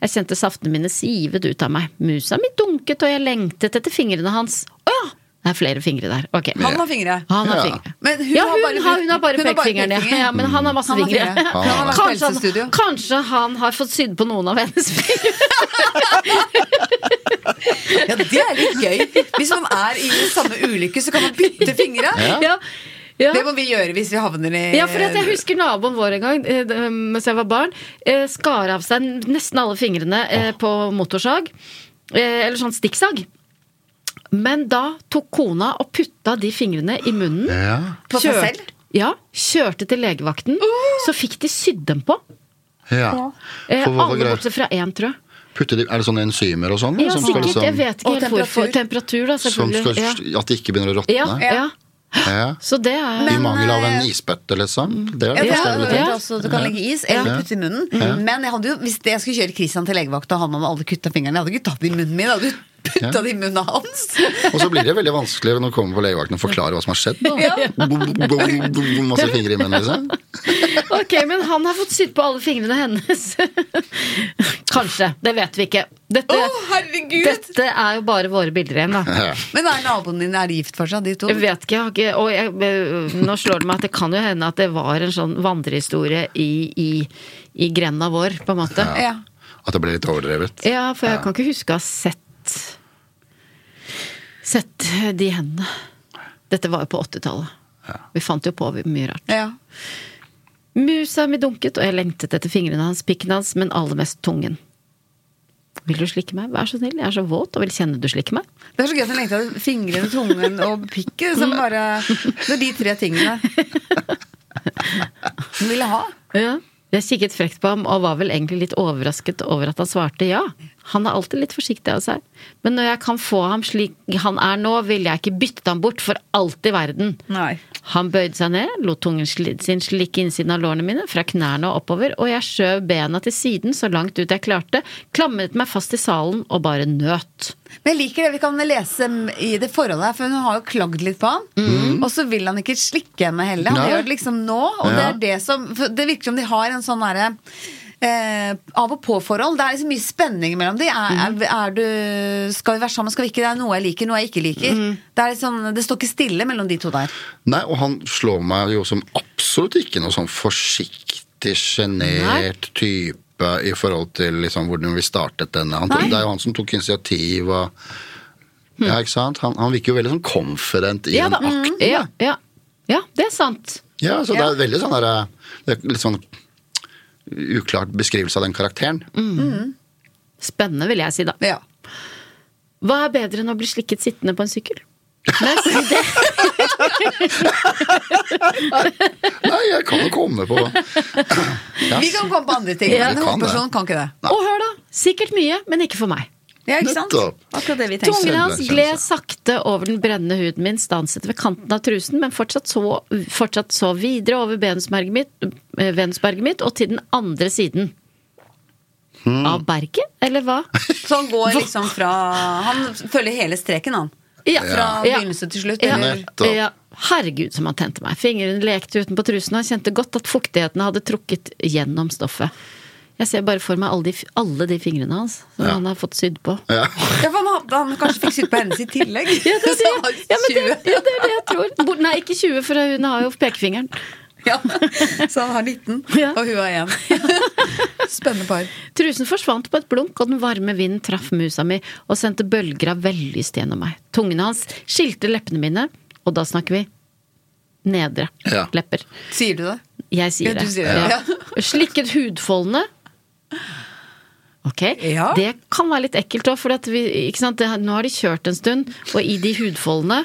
[SPEAKER 2] Jeg kjente saftene mine sivet ut av meg. Musa mi dunket, og jeg lengtet etter fingrene hans. Å ja! Det er flere fingre der. Ok.
[SPEAKER 3] Han har fingre.
[SPEAKER 2] Han har
[SPEAKER 4] Ja.
[SPEAKER 2] fingre.
[SPEAKER 3] Men hun
[SPEAKER 2] ja,
[SPEAKER 3] har
[SPEAKER 2] hun,
[SPEAKER 3] bare-
[SPEAKER 2] har, hun har bare
[SPEAKER 3] hun har bare
[SPEAKER 2] pekefingeren, ja.
[SPEAKER 3] pekefinger.
[SPEAKER 2] ja. Men han har masse
[SPEAKER 3] Han har
[SPEAKER 2] fingre.
[SPEAKER 3] fingre. Han har vært på
[SPEAKER 2] kanskje,
[SPEAKER 3] helsestudio.
[SPEAKER 2] han, kanskje han har fått sydd på noen av hennes fingre.
[SPEAKER 3] Ja, det er litt gøy. Hvis man er i samme ulykke, så kan man bytte fingre.
[SPEAKER 2] Ja. Ja.
[SPEAKER 3] Det må vi gjøre hvis vi havner i
[SPEAKER 2] Ja, for at jeg husker naboen vår en gang eh, d- mens jeg var barn. eh, Skar av seg nesten alle fingrene eh, på motorsag. eh, Eller sånn stikksag. Men da tok kona og putta de fingrene i munnen.
[SPEAKER 4] Ja.
[SPEAKER 3] På seg
[SPEAKER 2] Kjør-
[SPEAKER 3] selv?
[SPEAKER 2] Ja, Kjørte til legevakten. Så fikk de sydd dem på.
[SPEAKER 4] ja.
[SPEAKER 2] Eh,
[SPEAKER 4] For hva var
[SPEAKER 2] Alle
[SPEAKER 4] greia?
[SPEAKER 2] bortsett fra én, tror jeg.
[SPEAKER 4] Putter de, er det sånne enzymer og sånn?
[SPEAKER 2] Ja,
[SPEAKER 4] som skal
[SPEAKER 2] sikkert. Jeg vet ikke
[SPEAKER 3] Og
[SPEAKER 2] helt hvorfor.
[SPEAKER 3] temperatur.
[SPEAKER 2] Temperatur, da,
[SPEAKER 4] som
[SPEAKER 2] selvfølgelig.
[SPEAKER 4] skal,
[SPEAKER 2] Ja.
[SPEAKER 4] At de ikke begynner å
[SPEAKER 2] Ja,
[SPEAKER 4] råtne?
[SPEAKER 2] ja.
[SPEAKER 4] Ja.
[SPEAKER 2] Så det er
[SPEAKER 4] I
[SPEAKER 3] Men,
[SPEAKER 4] mangel av en
[SPEAKER 3] eh,
[SPEAKER 4] isbøtte, liksom? Det er
[SPEAKER 3] Ja,
[SPEAKER 4] det beste
[SPEAKER 3] det har
[SPEAKER 4] jeg
[SPEAKER 3] jeg
[SPEAKER 4] ville
[SPEAKER 3] hørt
[SPEAKER 4] tenkt.
[SPEAKER 3] også, du kan legge is eller putte i munnen. Men jeg hadde jo, hvis jeg skulle kjøre Christian til legevakta, og han hadde alle kutta fingrene, jeg hadde ikke tatt det i munnen min, jeg hadde putta det i munnen hans.
[SPEAKER 4] Og så blir det veldig vanskelig når du kommer på legevakten og forklarer hva som har skjedd. da. Bom, bom, bom, bom, Masse fingre i munnen, liksom.
[SPEAKER 2] Ok, men han har fått sydd på alle fingrene hennes. Kanskje. Det vet vi ikke. Dette,
[SPEAKER 3] herregud!
[SPEAKER 2] dette er jo bare våre bilder igjen, da.
[SPEAKER 4] Ja.
[SPEAKER 3] Men er naboene dine er de gift fortsatt, de to?
[SPEAKER 2] Jeg vet ikke, jeg har ikke og jeg, eh, Nå slår det meg at det kan jo hende at det var en sånn vandrehistorie i, i, i grenda vår, på en måte. Ja,
[SPEAKER 3] Ja.
[SPEAKER 4] At det ble litt overdrevet.
[SPEAKER 2] for jeg kan ikke huske å ha sett Sett de hendene. Dette var jo på 80-tallet. Vi fant jo på mye rart.
[SPEAKER 3] Ja.
[SPEAKER 2] Musa mi dunket, og jeg lengtet etter fingrene hans, pikken hans, men aller mest tungen. Vil du slikke meg? Vær så snill, jeg er så våt og vil kjenne du slikker meg.
[SPEAKER 3] Det er så gøy at hun lengter etter fingrene, tungen og pikken. Som bare, det er de tre tingene hun ville ha.
[SPEAKER 2] Jeg kikket frekt på ham og var vel egentlig litt overrasket over at han svarte ja. Han er alltid litt forsiktig av seg, men når jeg kan få ham slik han er nå, vil jeg ikke bytte ham bort for alt i verden.
[SPEAKER 3] Nei.
[SPEAKER 2] Han bøyde seg ned, lot tungen sli- sin slikke innsiden av lårene mine, fra knærne og oppover, og jeg skjøv bena til siden så langt ut jeg klarte, klamret meg fast i salen og bare nøt.
[SPEAKER 3] Men jeg liker det. Vi kan lese i det forholdet her, for hun har jo klagd litt på han. Og så vil han ikke slikke henne heller. Han
[SPEAKER 4] Nei.
[SPEAKER 3] gjør det liksom nå, og det er det som for Det virker som de har en sånn herre Eh, av og på-forhold. Det er liksom mye spenning mellom de. Er, er, er du, skal vi være sammen, skal vi ikke? Det er noe jeg liker, noe jeg ikke liker. Det, er liksom, det står ikke stille mellom de to der.
[SPEAKER 4] Nei, og han slår meg jo som absolutt ikke noe sånn forsiktig, sjenert type i forhold til liksom hvordan vi startet denne. Han, tok- det er jo han som tok initiativ og Ja, ikke sant? Han, han virker jo veldig sånn confident i
[SPEAKER 2] Ja
[SPEAKER 4] en
[SPEAKER 2] da. Mm.
[SPEAKER 4] akt.
[SPEAKER 2] Ja, ja. ja, det er sant.
[SPEAKER 4] Ja, så det er veldig sånn der, det er litt sånn uklart beskrivelse av den karakteren.
[SPEAKER 2] Mm. Spennende, vil jeg si da.
[SPEAKER 3] Ja.
[SPEAKER 2] Hva er bedre enn å bli slikket sittende på en sykkel? Nei, si det.
[SPEAKER 4] Nei, jeg kan jo komme på ja.
[SPEAKER 3] Vi kan komme på andre ting,
[SPEAKER 2] Ja.
[SPEAKER 4] Vi
[SPEAKER 3] men
[SPEAKER 4] kan det.
[SPEAKER 3] hovedpersonen kan ikke det.
[SPEAKER 2] Og hør, da. Sikkert mye, men ikke for meg.
[SPEAKER 3] Ja, ikke sant?
[SPEAKER 4] Nettopp.
[SPEAKER 3] Akkurat det vi tenkte.
[SPEAKER 2] Tungen hans gled
[SPEAKER 4] Selverkjennelse.
[SPEAKER 2] sakte over den brennende huden min, stanset ved kanten av trusen, men fortsatt så, fortsatt så videre over benusmerget mitt, eh, venusberget mitt og til den andre siden. Av berget, eller hva?
[SPEAKER 3] Så han går liksom fra Han følger hele streken, han.
[SPEAKER 2] Ja.
[SPEAKER 3] Fra
[SPEAKER 2] Ja.
[SPEAKER 3] begynnelse til slutt.
[SPEAKER 2] Ja.
[SPEAKER 3] Eller,
[SPEAKER 4] Nettopp.
[SPEAKER 2] Ja. Herregud, som han tente meg. Fingrene lekte utenpå trusen, og jeg kjente godt at fuktigheten hadde trukket gjennom stoffet. Jeg ser bare for meg alle de, alle de fingrene hans som han har fått sydd på.
[SPEAKER 4] Ja.
[SPEAKER 3] ja, for han, hadde, han kanskje fikk sydd på hennes i tillegg.
[SPEAKER 2] Ja, det,
[SPEAKER 3] Så
[SPEAKER 2] sier,
[SPEAKER 3] han var
[SPEAKER 2] ja, men det,
[SPEAKER 3] 20.
[SPEAKER 2] ja, det er det jeg tror. Bort- Nei, ikke 20, for hun har jo pekefingeren.
[SPEAKER 3] Ja. Så han har 19,
[SPEAKER 2] Ja.
[SPEAKER 3] og hun har 1. Spennende par.
[SPEAKER 2] Trusen forsvant på et blunk, og den varme vinden traff musa mi og sendte bølger av vellyst gjennom meg. Tungen hans skilte leppene mine, og da snakker vi nedre
[SPEAKER 4] Ja.
[SPEAKER 2] lepper.
[SPEAKER 3] Sier du det?
[SPEAKER 2] Jeg sier
[SPEAKER 3] Ja,
[SPEAKER 2] det.
[SPEAKER 3] du sier det.
[SPEAKER 2] Ja. Slikket hudfoldene. Ok,
[SPEAKER 3] Ja.
[SPEAKER 2] Det kan være litt ekkelt òg, for at vi, ikke sant? Det, nå har de kjørt en stund, og i de hudfoldene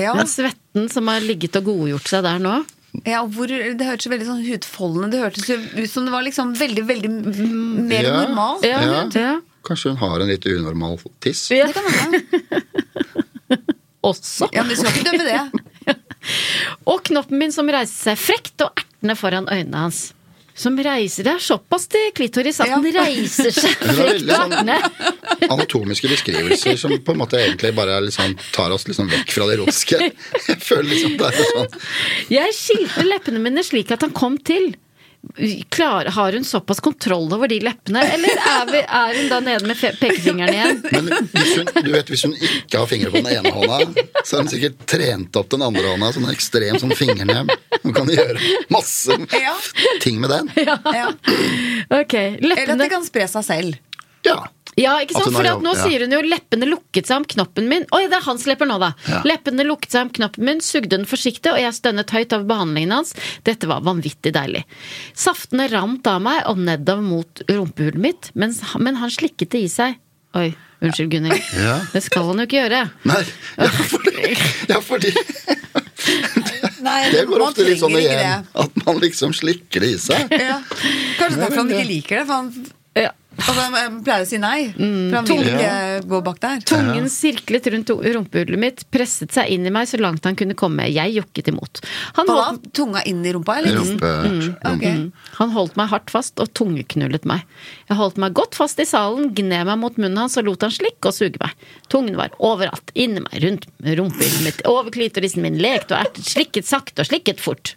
[SPEAKER 3] Ja.
[SPEAKER 2] Den svetten som har ligget og godgjort seg der nå.
[SPEAKER 3] Ja, og hvor, det hørtes veldig sånn hudfoldende Det hørtes jo ut som det var liksom veldig, veldig m- mer
[SPEAKER 4] Ja.
[SPEAKER 3] normalt.
[SPEAKER 2] Ja,
[SPEAKER 4] Ja.
[SPEAKER 2] ja.
[SPEAKER 4] Kanskje hun har en litt unormal tiss.
[SPEAKER 2] Ja.
[SPEAKER 3] Det kan hende.
[SPEAKER 2] Også.
[SPEAKER 3] Ja, men du skal ikke dømme det.
[SPEAKER 2] Og knoppen min som reiste seg frekt og ertende foran øynene hans. Som reiser Det er såpass til klitoris at den reiser seg
[SPEAKER 4] Det er
[SPEAKER 2] frekt
[SPEAKER 4] veldig
[SPEAKER 2] opp
[SPEAKER 4] sånn-
[SPEAKER 2] ned.
[SPEAKER 4] Anatomiske beskrivelser som på en måte egentlig bare er liksom, tar oss liksom vekk fra det erotiske. Jeg føler liksom det er sånn
[SPEAKER 2] Jeg skilte leppene mine slik at han kom til. Klar, har hun såpass kontroll over de leppene, eller er, vi, er hun da nede med fe- pekefingeren igjen?
[SPEAKER 4] Men hvis hun, du vet, hvis hun ikke har fingre på den ene hånda, så har hun sikkert trent opp den andre hånda, sånn ekstrem sånn fingernem. Hun kan gjøre masse
[SPEAKER 3] Ja.
[SPEAKER 4] ting med den.
[SPEAKER 3] Ja.
[SPEAKER 2] Ok,
[SPEAKER 3] Eller at
[SPEAKER 2] leppene
[SPEAKER 3] det kan spre seg selv.
[SPEAKER 4] Ja.
[SPEAKER 2] Ja, ikke
[SPEAKER 4] At
[SPEAKER 2] sant?
[SPEAKER 4] hun har
[SPEAKER 2] For at nå
[SPEAKER 4] jobb, ja.
[SPEAKER 2] sier hun jo 'leppene lukket seg om knoppen min'. Oi, det er hans lepper nå, da.
[SPEAKER 4] Ja.
[SPEAKER 2] 'Leppene lukket seg om knoppen min, sugde den forsiktig, og jeg stønnet høyt over behandlingen hans. Dette var vanvittig deilig. Saftene rant av meg og nedover mot rumpehullet mitt, mens, men han slikket det i seg. Oi, unnskyld, Gunnhild.
[SPEAKER 4] Ja.
[SPEAKER 2] Det skal han jo ikke gjøre.
[SPEAKER 4] Nei, ja, fordi, ja, fordi
[SPEAKER 3] Nei,
[SPEAKER 4] Det går ofte litt sånn
[SPEAKER 3] ikke
[SPEAKER 4] igjen. At man liksom slikker det i seg.
[SPEAKER 3] det. Ja. Kanskje derfor han ikke liker det, for han
[SPEAKER 2] Ja.
[SPEAKER 3] altså, han pleier å si nei. For han vil ikke gå bak der.
[SPEAKER 2] Tungen sirklet rundt rumpehullet mitt, presset seg inn i meg så langt han kunne komme. Jeg jokket imot. Han
[SPEAKER 3] Han
[SPEAKER 2] holdt,
[SPEAKER 3] har tunga inn i rumpa, eller?
[SPEAKER 4] Rumpe,
[SPEAKER 3] Mm, Ok.
[SPEAKER 4] rumpe.
[SPEAKER 2] Han holdt meg hardt fast og tungeknullet meg. Jeg holdt meg godt fast i salen, gned meg mot munnen hans og lot han slikke og suge meg. Tungen var overalt, inni meg, rundt rumpehullet mitt, over klitorisen min, lekte og ertet, slikket sakte og slikket fort.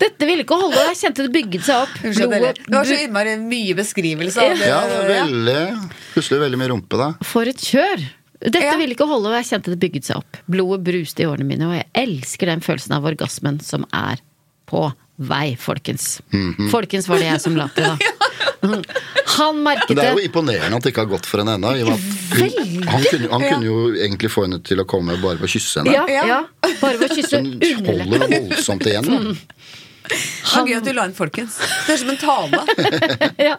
[SPEAKER 2] Dette ville ikke holde, og jeg kjente det bygget seg opp.
[SPEAKER 3] Unnskyld, dere.
[SPEAKER 2] Blodet
[SPEAKER 3] Det var så innmari mye beskrivelse av det.
[SPEAKER 4] Ja, det er veldig Plutselig veldig mye rumpe, da.
[SPEAKER 2] For et kjør! Dette
[SPEAKER 3] Ja.
[SPEAKER 2] ville ikke holde, og jeg kjente det bygget seg opp. Blodet bruste i årene mine, og jeg elsker den følelsen av orgasmen som er på vei, folkens.
[SPEAKER 4] Mhm.
[SPEAKER 2] Folkens var det jeg som la til, da. Mm. Han merket
[SPEAKER 4] Men det er jo
[SPEAKER 2] det.
[SPEAKER 4] imponerende at det ikke har gått for henne ennå. i og med at hun- Han, kunne, han kunne jo egentlig få henne til å komme bare ved å kysse henne.
[SPEAKER 2] Ja, ja. Bare ved å kysse
[SPEAKER 4] Hun
[SPEAKER 2] underleppen.
[SPEAKER 4] holder voldsomt igjen.
[SPEAKER 2] Sånn.
[SPEAKER 4] da.
[SPEAKER 3] Det var gøy at du la inn 'folkens'. Det er som en tale.
[SPEAKER 2] Ja.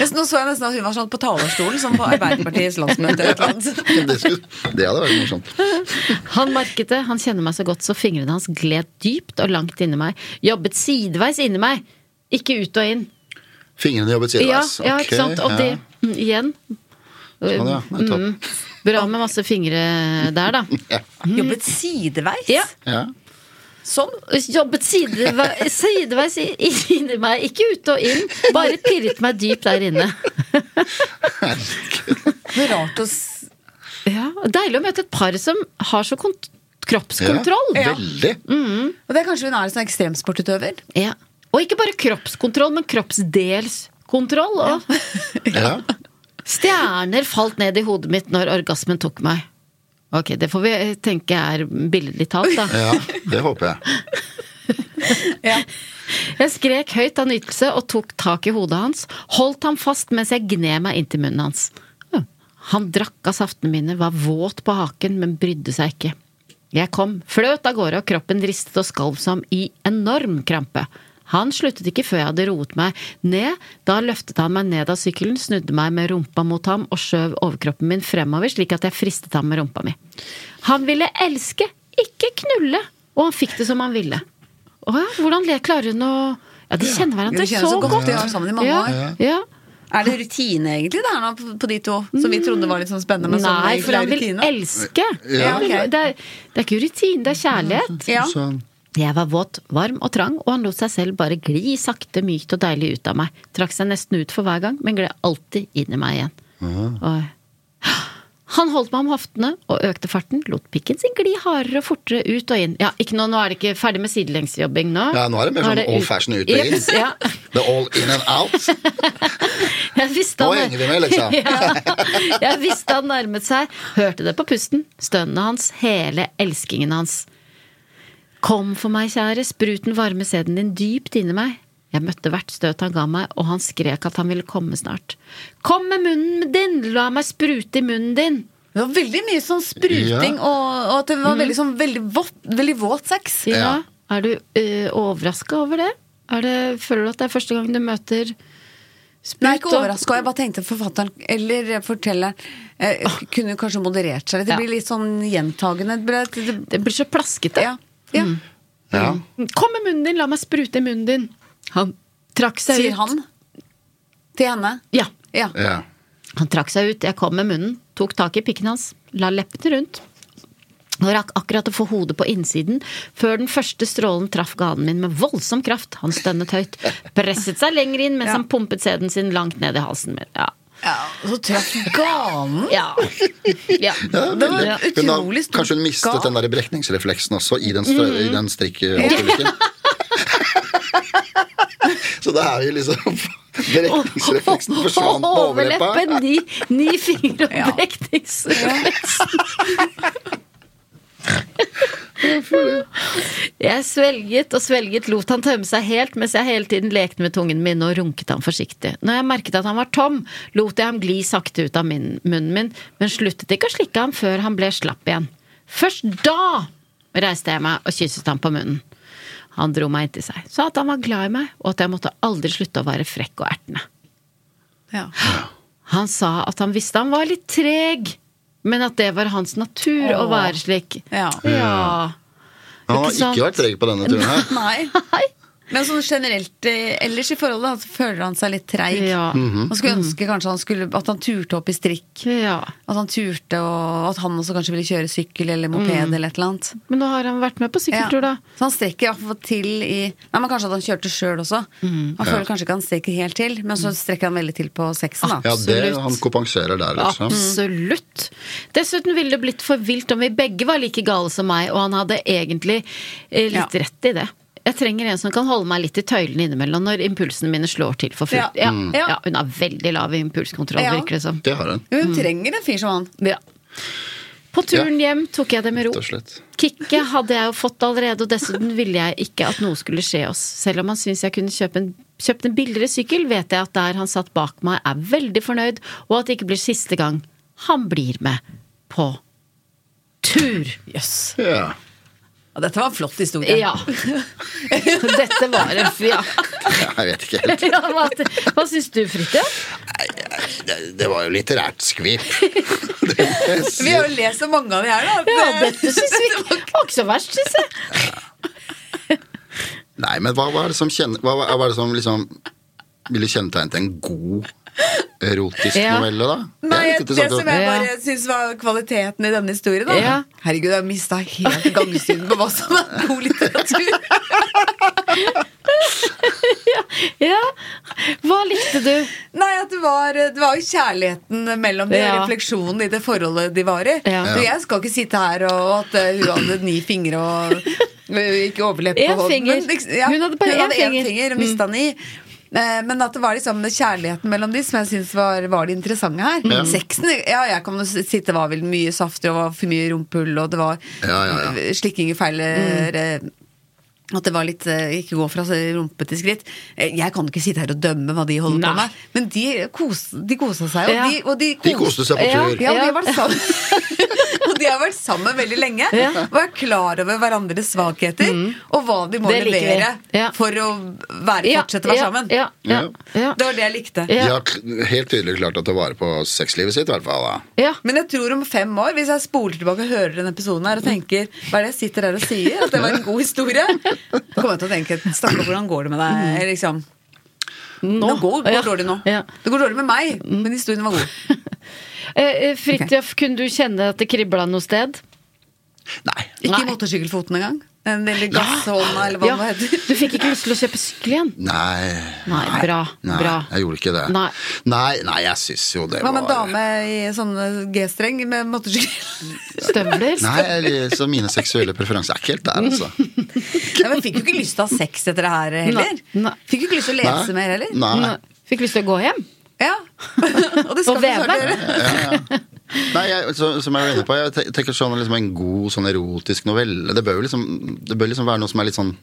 [SPEAKER 3] Jeg- Nå så jeg nesten at hun var sånn på talerstolen, som på Arbeiderpartiets landsmøte. eller et eller annet.
[SPEAKER 4] Det, skulle, det hadde vært morsomt.
[SPEAKER 2] Han merket det, han kjenner meg så godt, så fingrene hans gled dypt og langt inni meg. Jobbet sideveis inni meg, ikke ut og inn.
[SPEAKER 4] Fingrene jobbet
[SPEAKER 2] Ja,
[SPEAKER 4] sideveis.
[SPEAKER 2] ja ikke
[SPEAKER 4] Ok,
[SPEAKER 2] sant? Og
[SPEAKER 4] ja.
[SPEAKER 2] det, mm, igjen,
[SPEAKER 4] Sånn, ja. Nettopp.
[SPEAKER 2] bra med masse fingre der, da.
[SPEAKER 3] Jobbet sideveis?
[SPEAKER 2] Mm. Ja.
[SPEAKER 4] Ja.
[SPEAKER 3] Sånn?
[SPEAKER 2] jobbet sideve- sideveis i- i- inni meg, ikke ut og inn. Bare pirret meg dypt der inne.
[SPEAKER 3] Det er rart å s-
[SPEAKER 2] Ja, Deilig å møte et par som har så kont kroppskontroll.
[SPEAKER 4] Ja. Veldig.
[SPEAKER 2] Mm.
[SPEAKER 3] Og det er kanskje hun er en sånn ekstremsportutøver?
[SPEAKER 2] Ja. Og ikke bare kroppskontroll, men kroppsdelskontroll. Og
[SPEAKER 4] Ja.
[SPEAKER 2] stjerner falt ned i hodet mitt når orgasmen tok meg. Ok, det får vi tenke er billedlig talt, da.
[SPEAKER 4] ja, det håper jeg.
[SPEAKER 2] Jeg skrek høyt av nytelse og tok tak i hodet hans. Holdt ham fast mens jeg gned meg inntil munnen hans. Ja. Han drakk av saftene mine, var våt på haken, men brydde seg ikke. Jeg kom, fløt av gårde, og kroppen ristet og skalv som i enorm krampe. Han sluttet ikke før jeg hadde roet meg ned. Da løftet han meg ned av sykkelen, snudde meg med rumpa mot ham og skjøv overkroppen min fremover, slik at jeg fristet ham med rumpa mi. Han ville elske, ikke knulle, og han fikk det som han ville. Å ja, hvordan le- klarer hun å Ja, de kjenner hverandre
[SPEAKER 3] De kjenner så godt, de har vært sammen i mange
[SPEAKER 2] ja,
[SPEAKER 3] år.
[SPEAKER 2] ja.
[SPEAKER 3] Er det rutine, egentlig, det her nå på- på de to? Som vi trodde var litt sånn spennende, men som
[SPEAKER 2] Nei,
[SPEAKER 3] egentlig
[SPEAKER 2] for
[SPEAKER 3] er
[SPEAKER 2] han vil
[SPEAKER 3] rutine?
[SPEAKER 2] elske.
[SPEAKER 3] Ja,
[SPEAKER 2] Han vil-
[SPEAKER 3] ok.
[SPEAKER 2] det, er, det er ikke rutine, det er kjærlighet.
[SPEAKER 3] Ja.
[SPEAKER 4] Sånn.
[SPEAKER 2] Jeg var våt, varm og trang, og han lot seg selv bare gli sakte, mykt og deilig ut av meg. Trakk seg nesten ut for hver gang, men gled alltid inn i meg igjen. Oi. Han holdt meg om hoftene og økte farten, lot pikken sin gli hardere og fortere ut og inn. Ja, ikke nå, nå er det ikke ferdig med sidelengsjobbing nå.
[SPEAKER 4] Ja, nå er det mer sånn old fashion ut og inn.
[SPEAKER 2] Yes, ja.
[SPEAKER 4] The all in and out.
[SPEAKER 2] Jeg visste
[SPEAKER 4] Nå
[SPEAKER 2] han-
[SPEAKER 4] henger vi med, liksom.
[SPEAKER 2] ja. Jeg visste han nærmet seg. Hørte det på pusten. Stønnet hans. Hele elskingen hans. Kom for meg, kjære. Spruten varme sæden din dypt inni meg. Jeg møtte hvert støt han ga meg, og han skrek at han ville komme snart. Kom med munnen din! La meg sprute i munnen din!
[SPEAKER 3] Det var veldig mye sånn spruting,
[SPEAKER 4] Ja.
[SPEAKER 3] og, og at det var veldig, sånn, veldig, vått, veldig våt sex.
[SPEAKER 2] Ja.
[SPEAKER 4] Ja.
[SPEAKER 2] Er du uh, overraska over det? Er det? Føler du at det er første gang du møter sprut?
[SPEAKER 3] Nei, ikke
[SPEAKER 2] og-
[SPEAKER 3] overraska. Jeg bare tenkte forfatteren, eller fortelleren, eh, kunne kanskje moderert seg litt. Det
[SPEAKER 2] Ja.
[SPEAKER 3] blir litt sånn gjentagende. Det ble, det, det,
[SPEAKER 2] Det blir så plaskete.
[SPEAKER 3] ja. Ja.
[SPEAKER 4] Ja.
[SPEAKER 2] Kom med munnen din! La meg sprute i munnen din! Han trakk seg ut.
[SPEAKER 3] Sier han til henne.
[SPEAKER 2] Ja.
[SPEAKER 3] Ja.
[SPEAKER 4] ja.
[SPEAKER 2] Han trakk seg ut, jeg kom med munnen, tok tak i pikken hans, la leppene rundt. og rakk akkurat å få hodet på innsiden før den første strålen traff ganen min med voldsom kraft. Han stønnet høyt, presset seg lenger inn mens han pumpet sæden sin langt ned i halsen min. Ja.
[SPEAKER 3] Ja, og så traff ganen!
[SPEAKER 2] Ja. ja.
[SPEAKER 3] Det var
[SPEAKER 4] veldig.
[SPEAKER 3] en
[SPEAKER 4] Hun har-
[SPEAKER 3] utrolig stor
[SPEAKER 4] Kanskje hun mistet
[SPEAKER 3] gal.
[SPEAKER 4] den der brekningsrefleksen også i den, strø- i den
[SPEAKER 3] Mm.
[SPEAKER 4] strikkeulykken. Så da er vi liksom Brekningsrefleksen forsvant på overleppa.
[SPEAKER 2] Overleppen, ni, ni fingre og brekningsrefleksen. Jeg svelget og svelget, lot han tømme seg helt mens jeg hele tiden lekte med tungen min og runket han forsiktig. Når jeg merket at han var tom, lot jeg ham gli sakte ut av min, munnen min, men sluttet ikke å slikke ham før han ble slapp igjen. Først da reiste jeg meg og kysset ham på munnen. Han dro meg inntil seg, sa at han var glad i meg, og at jeg måtte aldri slutte å være frekk og ertende.
[SPEAKER 3] Ja.
[SPEAKER 2] Han sa at han visste han var litt treg, men at det var hans natur å
[SPEAKER 3] Åh.
[SPEAKER 2] være slik.
[SPEAKER 3] Ja.
[SPEAKER 2] Ja.
[SPEAKER 4] Han har
[SPEAKER 2] Ikke sant?
[SPEAKER 4] ikke vært treg på denne turen her.
[SPEAKER 3] Nei. Men sånn generelt eh, ellers i forholdet så føler han seg litt treig.
[SPEAKER 2] Ja.
[SPEAKER 3] Man skulle ønske kanskje han skulle, at han turte opp i strikk.
[SPEAKER 2] ja.
[SPEAKER 3] At han turte, og at han også kanskje ville kjøre sykkel eller moped eller et eller annet.
[SPEAKER 2] Men nå har han vært med på sykkeltur, da.
[SPEAKER 3] Så han strekker i hvert fall til i Nei, men Kanskje at han kjørte sjøl også. Han føler kanskje ikke han strekker helt til, men så strekker han veldig til på sexen. da
[SPEAKER 4] Ja, det,
[SPEAKER 2] Absolutt.
[SPEAKER 4] han kompenserer der, liksom.
[SPEAKER 2] Absolutt. Dessuten ville det blitt for vilt om vi begge var like gale som meg, og han hadde egentlig eh, litt
[SPEAKER 3] Ja.
[SPEAKER 2] rett i det. Jeg trenger en som kan holde meg litt i tøylene innimellom når impulsene mine slår til for fullt. Ja,
[SPEAKER 3] Ja.
[SPEAKER 2] ja,
[SPEAKER 3] Mm.
[SPEAKER 2] hun har veldig lav impulskontroll,
[SPEAKER 3] Ja.
[SPEAKER 2] virker det som.
[SPEAKER 4] Det har han,
[SPEAKER 3] Jo, Hun trenger en fyr som han.
[SPEAKER 2] Ja. På turen hjem tok jeg det med
[SPEAKER 4] rett og
[SPEAKER 2] ro.
[SPEAKER 4] slett.
[SPEAKER 2] Kicket hadde jeg jo fått allerede, og dessuten ville jeg ikke at noe skulle skje oss. Selv om han syns jeg kunne kjøpe en, kjøpt en billigere sykkel, vet jeg at der han satt bak meg, er veldig fornøyd, og at det ikke blir siste gang han blir med på tur. Jøss.
[SPEAKER 4] Ja.
[SPEAKER 3] Ja, dette var en flott historie.
[SPEAKER 2] Ja. Dette var en Ja.
[SPEAKER 4] Jeg vet ikke helt.
[SPEAKER 2] ja hva hva syns du, Fridtjof?
[SPEAKER 4] Det, det var jo litterært skvip. Det må jeg si.
[SPEAKER 3] Vi har jo lest så mange av de her, da.
[SPEAKER 2] Ja, dette syns vi Det var ikke så verst, syns jeg.
[SPEAKER 4] Nei, men hva var det som, kjenne, hva var, var det som liksom ville kjennetegnet en god erotisk
[SPEAKER 2] Ja.
[SPEAKER 4] novelle, da? Det er
[SPEAKER 3] Nei,
[SPEAKER 4] litt
[SPEAKER 3] det
[SPEAKER 4] interessant å-
[SPEAKER 3] som jeg
[SPEAKER 2] Ja.
[SPEAKER 3] bare syns var kvaliteten i denne historien, da.
[SPEAKER 2] Ja.
[SPEAKER 3] Herregud, jeg har mista helt gangsynet på hva som er god litteratur.
[SPEAKER 2] Ja. Hva likte du?
[SPEAKER 3] Nei, at det var, det var jo kjærligheten mellom de
[SPEAKER 2] Ja.
[SPEAKER 3] og refleksjonen i det forholdet de var i.
[SPEAKER 2] Ja.
[SPEAKER 3] Så jeg skal ikke sitte her og at eh, hun hadde ni fingre og eh, ikke overleppe
[SPEAKER 2] En
[SPEAKER 3] og
[SPEAKER 2] finger.
[SPEAKER 3] Men, liksom,
[SPEAKER 2] Hun hadde bare en
[SPEAKER 3] én
[SPEAKER 2] finger. Mm.
[SPEAKER 3] og mista ni. Eh, Men at det var liksom kjærligheten mellom de som jeg syns var, var det interessante her.
[SPEAKER 2] Mm.
[SPEAKER 3] Sexen Ja, jeg kan jo sitte det var vel mye safter og var for mye rumpehull, og det var
[SPEAKER 4] Ja, ja, ja.
[SPEAKER 3] eh, slikking i feil
[SPEAKER 2] Mm.
[SPEAKER 3] eh, At det var litt eh, ikke gå fra rumpe til skritt. Eh, Jeg kan ikke sitte her og dømme hva de holder på
[SPEAKER 2] Nei.
[SPEAKER 3] med, men de, kos, de kosa seg jo.
[SPEAKER 2] Ja.
[SPEAKER 3] De, og de,
[SPEAKER 4] De koste seg på
[SPEAKER 2] Ja.
[SPEAKER 4] tur.
[SPEAKER 3] Ja, og
[SPEAKER 2] Ja.
[SPEAKER 3] de har vært sammen. og de har vært sammen veldig lenge.
[SPEAKER 2] Ja. Mm.
[SPEAKER 3] Og er klar over hverandres svakheter, og hva de må
[SPEAKER 2] Det liker vi.
[SPEAKER 3] levere
[SPEAKER 2] Ja.
[SPEAKER 3] for å være, fortsette å være
[SPEAKER 2] ja,
[SPEAKER 3] sammen.
[SPEAKER 2] Ja, ja, ja.
[SPEAKER 3] Det var det jeg likte.
[SPEAKER 4] De
[SPEAKER 2] Ja.
[SPEAKER 4] har kl- helt tydelig klart å ta vare på sexlivet sitt, i hvert fall. da.
[SPEAKER 2] ja.
[SPEAKER 3] Men jeg tror om fem år, hvis jeg spoler tilbake og hører denne episoden her og tenker hva er det jeg sitter her og sier, at det var en god historie, da kommer jeg til å tenke stakkar, hvordan går det med deg, liksom. Nå, går, går
[SPEAKER 2] Mm. Ja.
[SPEAKER 3] dårlig nå.
[SPEAKER 2] Ja. Mm.
[SPEAKER 3] Det går dårlig med meg, men historien var god.
[SPEAKER 2] Eh, eh, Fridtjof, kunne du kjenne at det kribla noe sted?
[SPEAKER 4] Nei.
[SPEAKER 3] Ikke
[SPEAKER 2] Nei.
[SPEAKER 3] i motorsykkelfoten engang. Den lille gasshånda, eller hva
[SPEAKER 2] Ja,
[SPEAKER 3] det heter.
[SPEAKER 2] Du fikk ikke lyst til å kjøpe sykkel igjen?
[SPEAKER 4] Nei.
[SPEAKER 2] Nei, bra,
[SPEAKER 4] Nei,
[SPEAKER 2] bra.
[SPEAKER 4] Jeg gjorde ikke det.
[SPEAKER 2] Nei.
[SPEAKER 4] nei, nei, jeg syns jo det var
[SPEAKER 3] Hva med en dame i sånn G-streng med motorsykkel?
[SPEAKER 2] Støvler?
[SPEAKER 4] Nei, jeg- så mine seksuelle preferanser er ikke helt der, altså.
[SPEAKER 3] Nei, men Fikk jo ikke lyst til å ha sex etter det her heller.
[SPEAKER 2] Nei, nei.
[SPEAKER 3] Fikk jo ikke lyst til å
[SPEAKER 4] Nei.
[SPEAKER 3] lese mer heller.
[SPEAKER 4] Nei.
[SPEAKER 2] Fikk lyst til å gå hjem?
[SPEAKER 3] Ja. Og det skal
[SPEAKER 2] Og
[SPEAKER 3] du snart
[SPEAKER 2] veve.
[SPEAKER 3] gjøre.
[SPEAKER 4] Nei, jeg, så, som jeg var inne på, jeg te- tenker sånn liksom en god sånn erotisk novelle. Det bør jo liksom, det bør liksom være noe som er litt sånn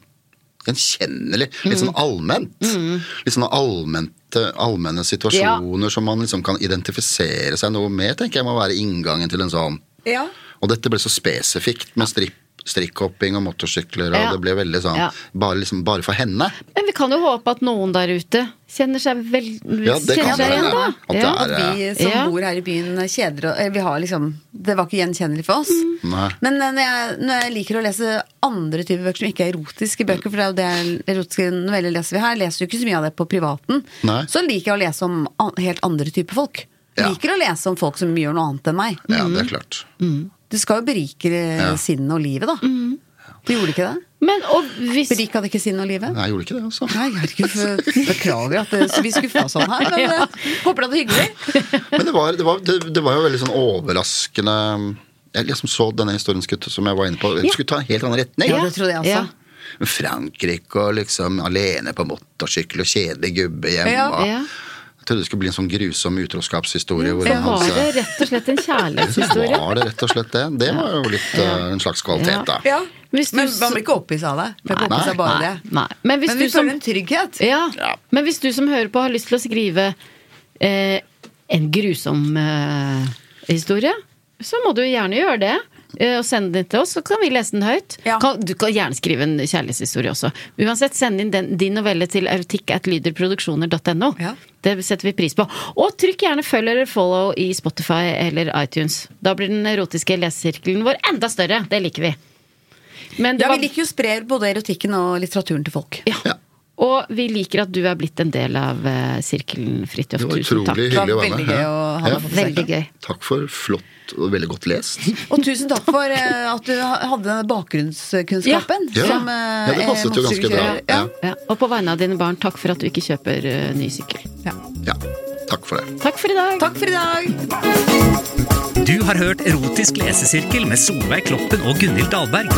[SPEAKER 4] gjenkjennelig. Litt sånn allment. Litt sånn allmente, allmenne situasjoner som man liksom kan identifisere seg noe med, tenker jeg må være inngangen til en sånn.
[SPEAKER 3] Ja.
[SPEAKER 4] Og dette ble så spesifikt med stripp, strikkhopping og motorsykler, og
[SPEAKER 2] Ja.
[SPEAKER 4] det ble veldig sånn
[SPEAKER 2] Ja.
[SPEAKER 4] bare, liksom, bare for henne.
[SPEAKER 2] Men vi kan jo håpe at noen der ute kjenner seg vel
[SPEAKER 4] Ja, det
[SPEAKER 2] kjenner seg
[SPEAKER 4] kan det
[SPEAKER 2] igjen,
[SPEAKER 4] hende.
[SPEAKER 2] da.
[SPEAKER 4] At
[SPEAKER 2] Ja.
[SPEAKER 4] det er eh,
[SPEAKER 3] Vi som
[SPEAKER 2] Ja.
[SPEAKER 3] bor her i byen, eh, kjeder og eller Vi har liksom Det var ikke gjenkjennelig for oss.
[SPEAKER 4] Nei.
[SPEAKER 3] Men eh, når jeg, når jeg liker å lese andre typer bøker som ikke er erotiske bøker, for det er jo det erotiske noveller leser vi her, leser jo ikke så mye av det på privaten,
[SPEAKER 4] Nei.
[SPEAKER 3] så liker jeg å lese om an helt andre typer folk.
[SPEAKER 4] Ja.
[SPEAKER 3] Liker å lese om folk som gjør noe annet enn meg.
[SPEAKER 4] Ja, det er klart.
[SPEAKER 3] Du skal jo berike ja. sinnet og livet, da. Du gjorde ikke det?
[SPEAKER 2] Men, og hvis
[SPEAKER 3] Berika hadde ikke sinnet og livet?
[SPEAKER 4] Nei, jeg gjorde ikke det, altså.
[SPEAKER 3] Nei, jeg er ikke Beklager at det- vi skuffa sånn her, men eh, håper du hadde det hyggelig.
[SPEAKER 4] Men det var, det, var, det, det var jo veldig sånn overraskende Jeg liksom så denne historien skulle, som jeg var inne på, den skulle ta en helt annen retning.
[SPEAKER 3] Ja, det trodde jeg også.
[SPEAKER 2] Ja.
[SPEAKER 4] Frankrike og liksom alene på motorsykkel og kjedelig gubbe hjemme.
[SPEAKER 3] Ja,
[SPEAKER 4] og-
[SPEAKER 2] ja.
[SPEAKER 4] Jeg trodde det skulle bli en sånn grusom utroskapshistorie. hvor
[SPEAKER 2] Det
[SPEAKER 4] han
[SPEAKER 2] var
[SPEAKER 4] sa-
[SPEAKER 2] det rett og slett en kjærlighetshistorie.
[SPEAKER 4] Var det rett og slett det? Det var jo litt eh, en slags kvalitet, da.
[SPEAKER 3] Ja.
[SPEAKER 2] Hvis du
[SPEAKER 3] men
[SPEAKER 2] s-
[SPEAKER 3] man blir ikke opphisset av det. Man blir
[SPEAKER 4] Nei.
[SPEAKER 3] opphisset av bare
[SPEAKER 2] Nei,
[SPEAKER 3] det.
[SPEAKER 2] nei. Men hvis
[SPEAKER 3] vi
[SPEAKER 2] du som-
[SPEAKER 3] føler en trygghet.
[SPEAKER 2] Ja. Men hvis du som hører på har lyst til å skrive eh, en grusom eh, historie, så må du gjerne gjøre det. eh, Og sende den til oss, så kan vi lese den høyt.
[SPEAKER 3] Ja.
[SPEAKER 2] Kan, du kan gjerne skrive en kjærlighetshistorie også. Uansett, send inn den, din novelle til erotikk.lyderproduksjoner.no.
[SPEAKER 3] Ja.
[SPEAKER 2] Det setter vi pris på. Og trykk gjerne følg eller follow i Spotify eller iTunes. Da blir den erotiske lesesirkelen vår enda større. Det liker vi. Men det
[SPEAKER 3] Ja,
[SPEAKER 2] var-
[SPEAKER 3] vi liker jo å spre både erotikken og litteraturen til folk.
[SPEAKER 2] ja. Og vi liker at du er blitt en del av eh, sirkelen, Fridtjof.
[SPEAKER 4] Det var
[SPEAKER 2] Tusen
[SPEAKER 4] utrolig
[SPEAKER 2] takk.
[SPEAKER 3] Det var
[SPEAKER 4] hyggelig å være
[SPEAKER 3] veldig
[SPEAKER 4] med.
[SPEAKER 3] gøy
[SPEAKER 4] Ja.
[SPEAKER 3] å ha deg på besøk.
[SPEAKER 2] Veldig gøy.
[SPEAKER 4] Takk for flott og veldig godt lest.
[SPEAKER 3] Og tusen takk for eh, at du ha- hadde denne bakgrunnskunnskapen.
[SPEAKER 4] Ja.
[SPEAKER 3] som, eh,
[SPEAKER 4] Ja, det passet jo
[SPEAKER 3] er
[SPEAKER 4] ganske bra.
[SPEAKER 3] motorsykkelkjører. Ja.
[SPEAKER 2] Ja, og på vegne av dine barn, takk for at du ikke kjøper eh, ny sykkel.
[SPEAKER 4] Ja, takk for det.
[SPEAKER 2] Takk for i dag!
[SPEAKER 3] Takk for i dag!
[SPEAKER 5] Du har hørt Erotisk lesesirkel med Solveig Kloppen og Gunhild Dahlberg.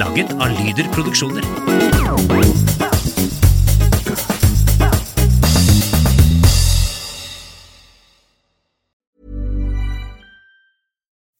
[SPEAKER 5] Laget av Lyder Produksjoner.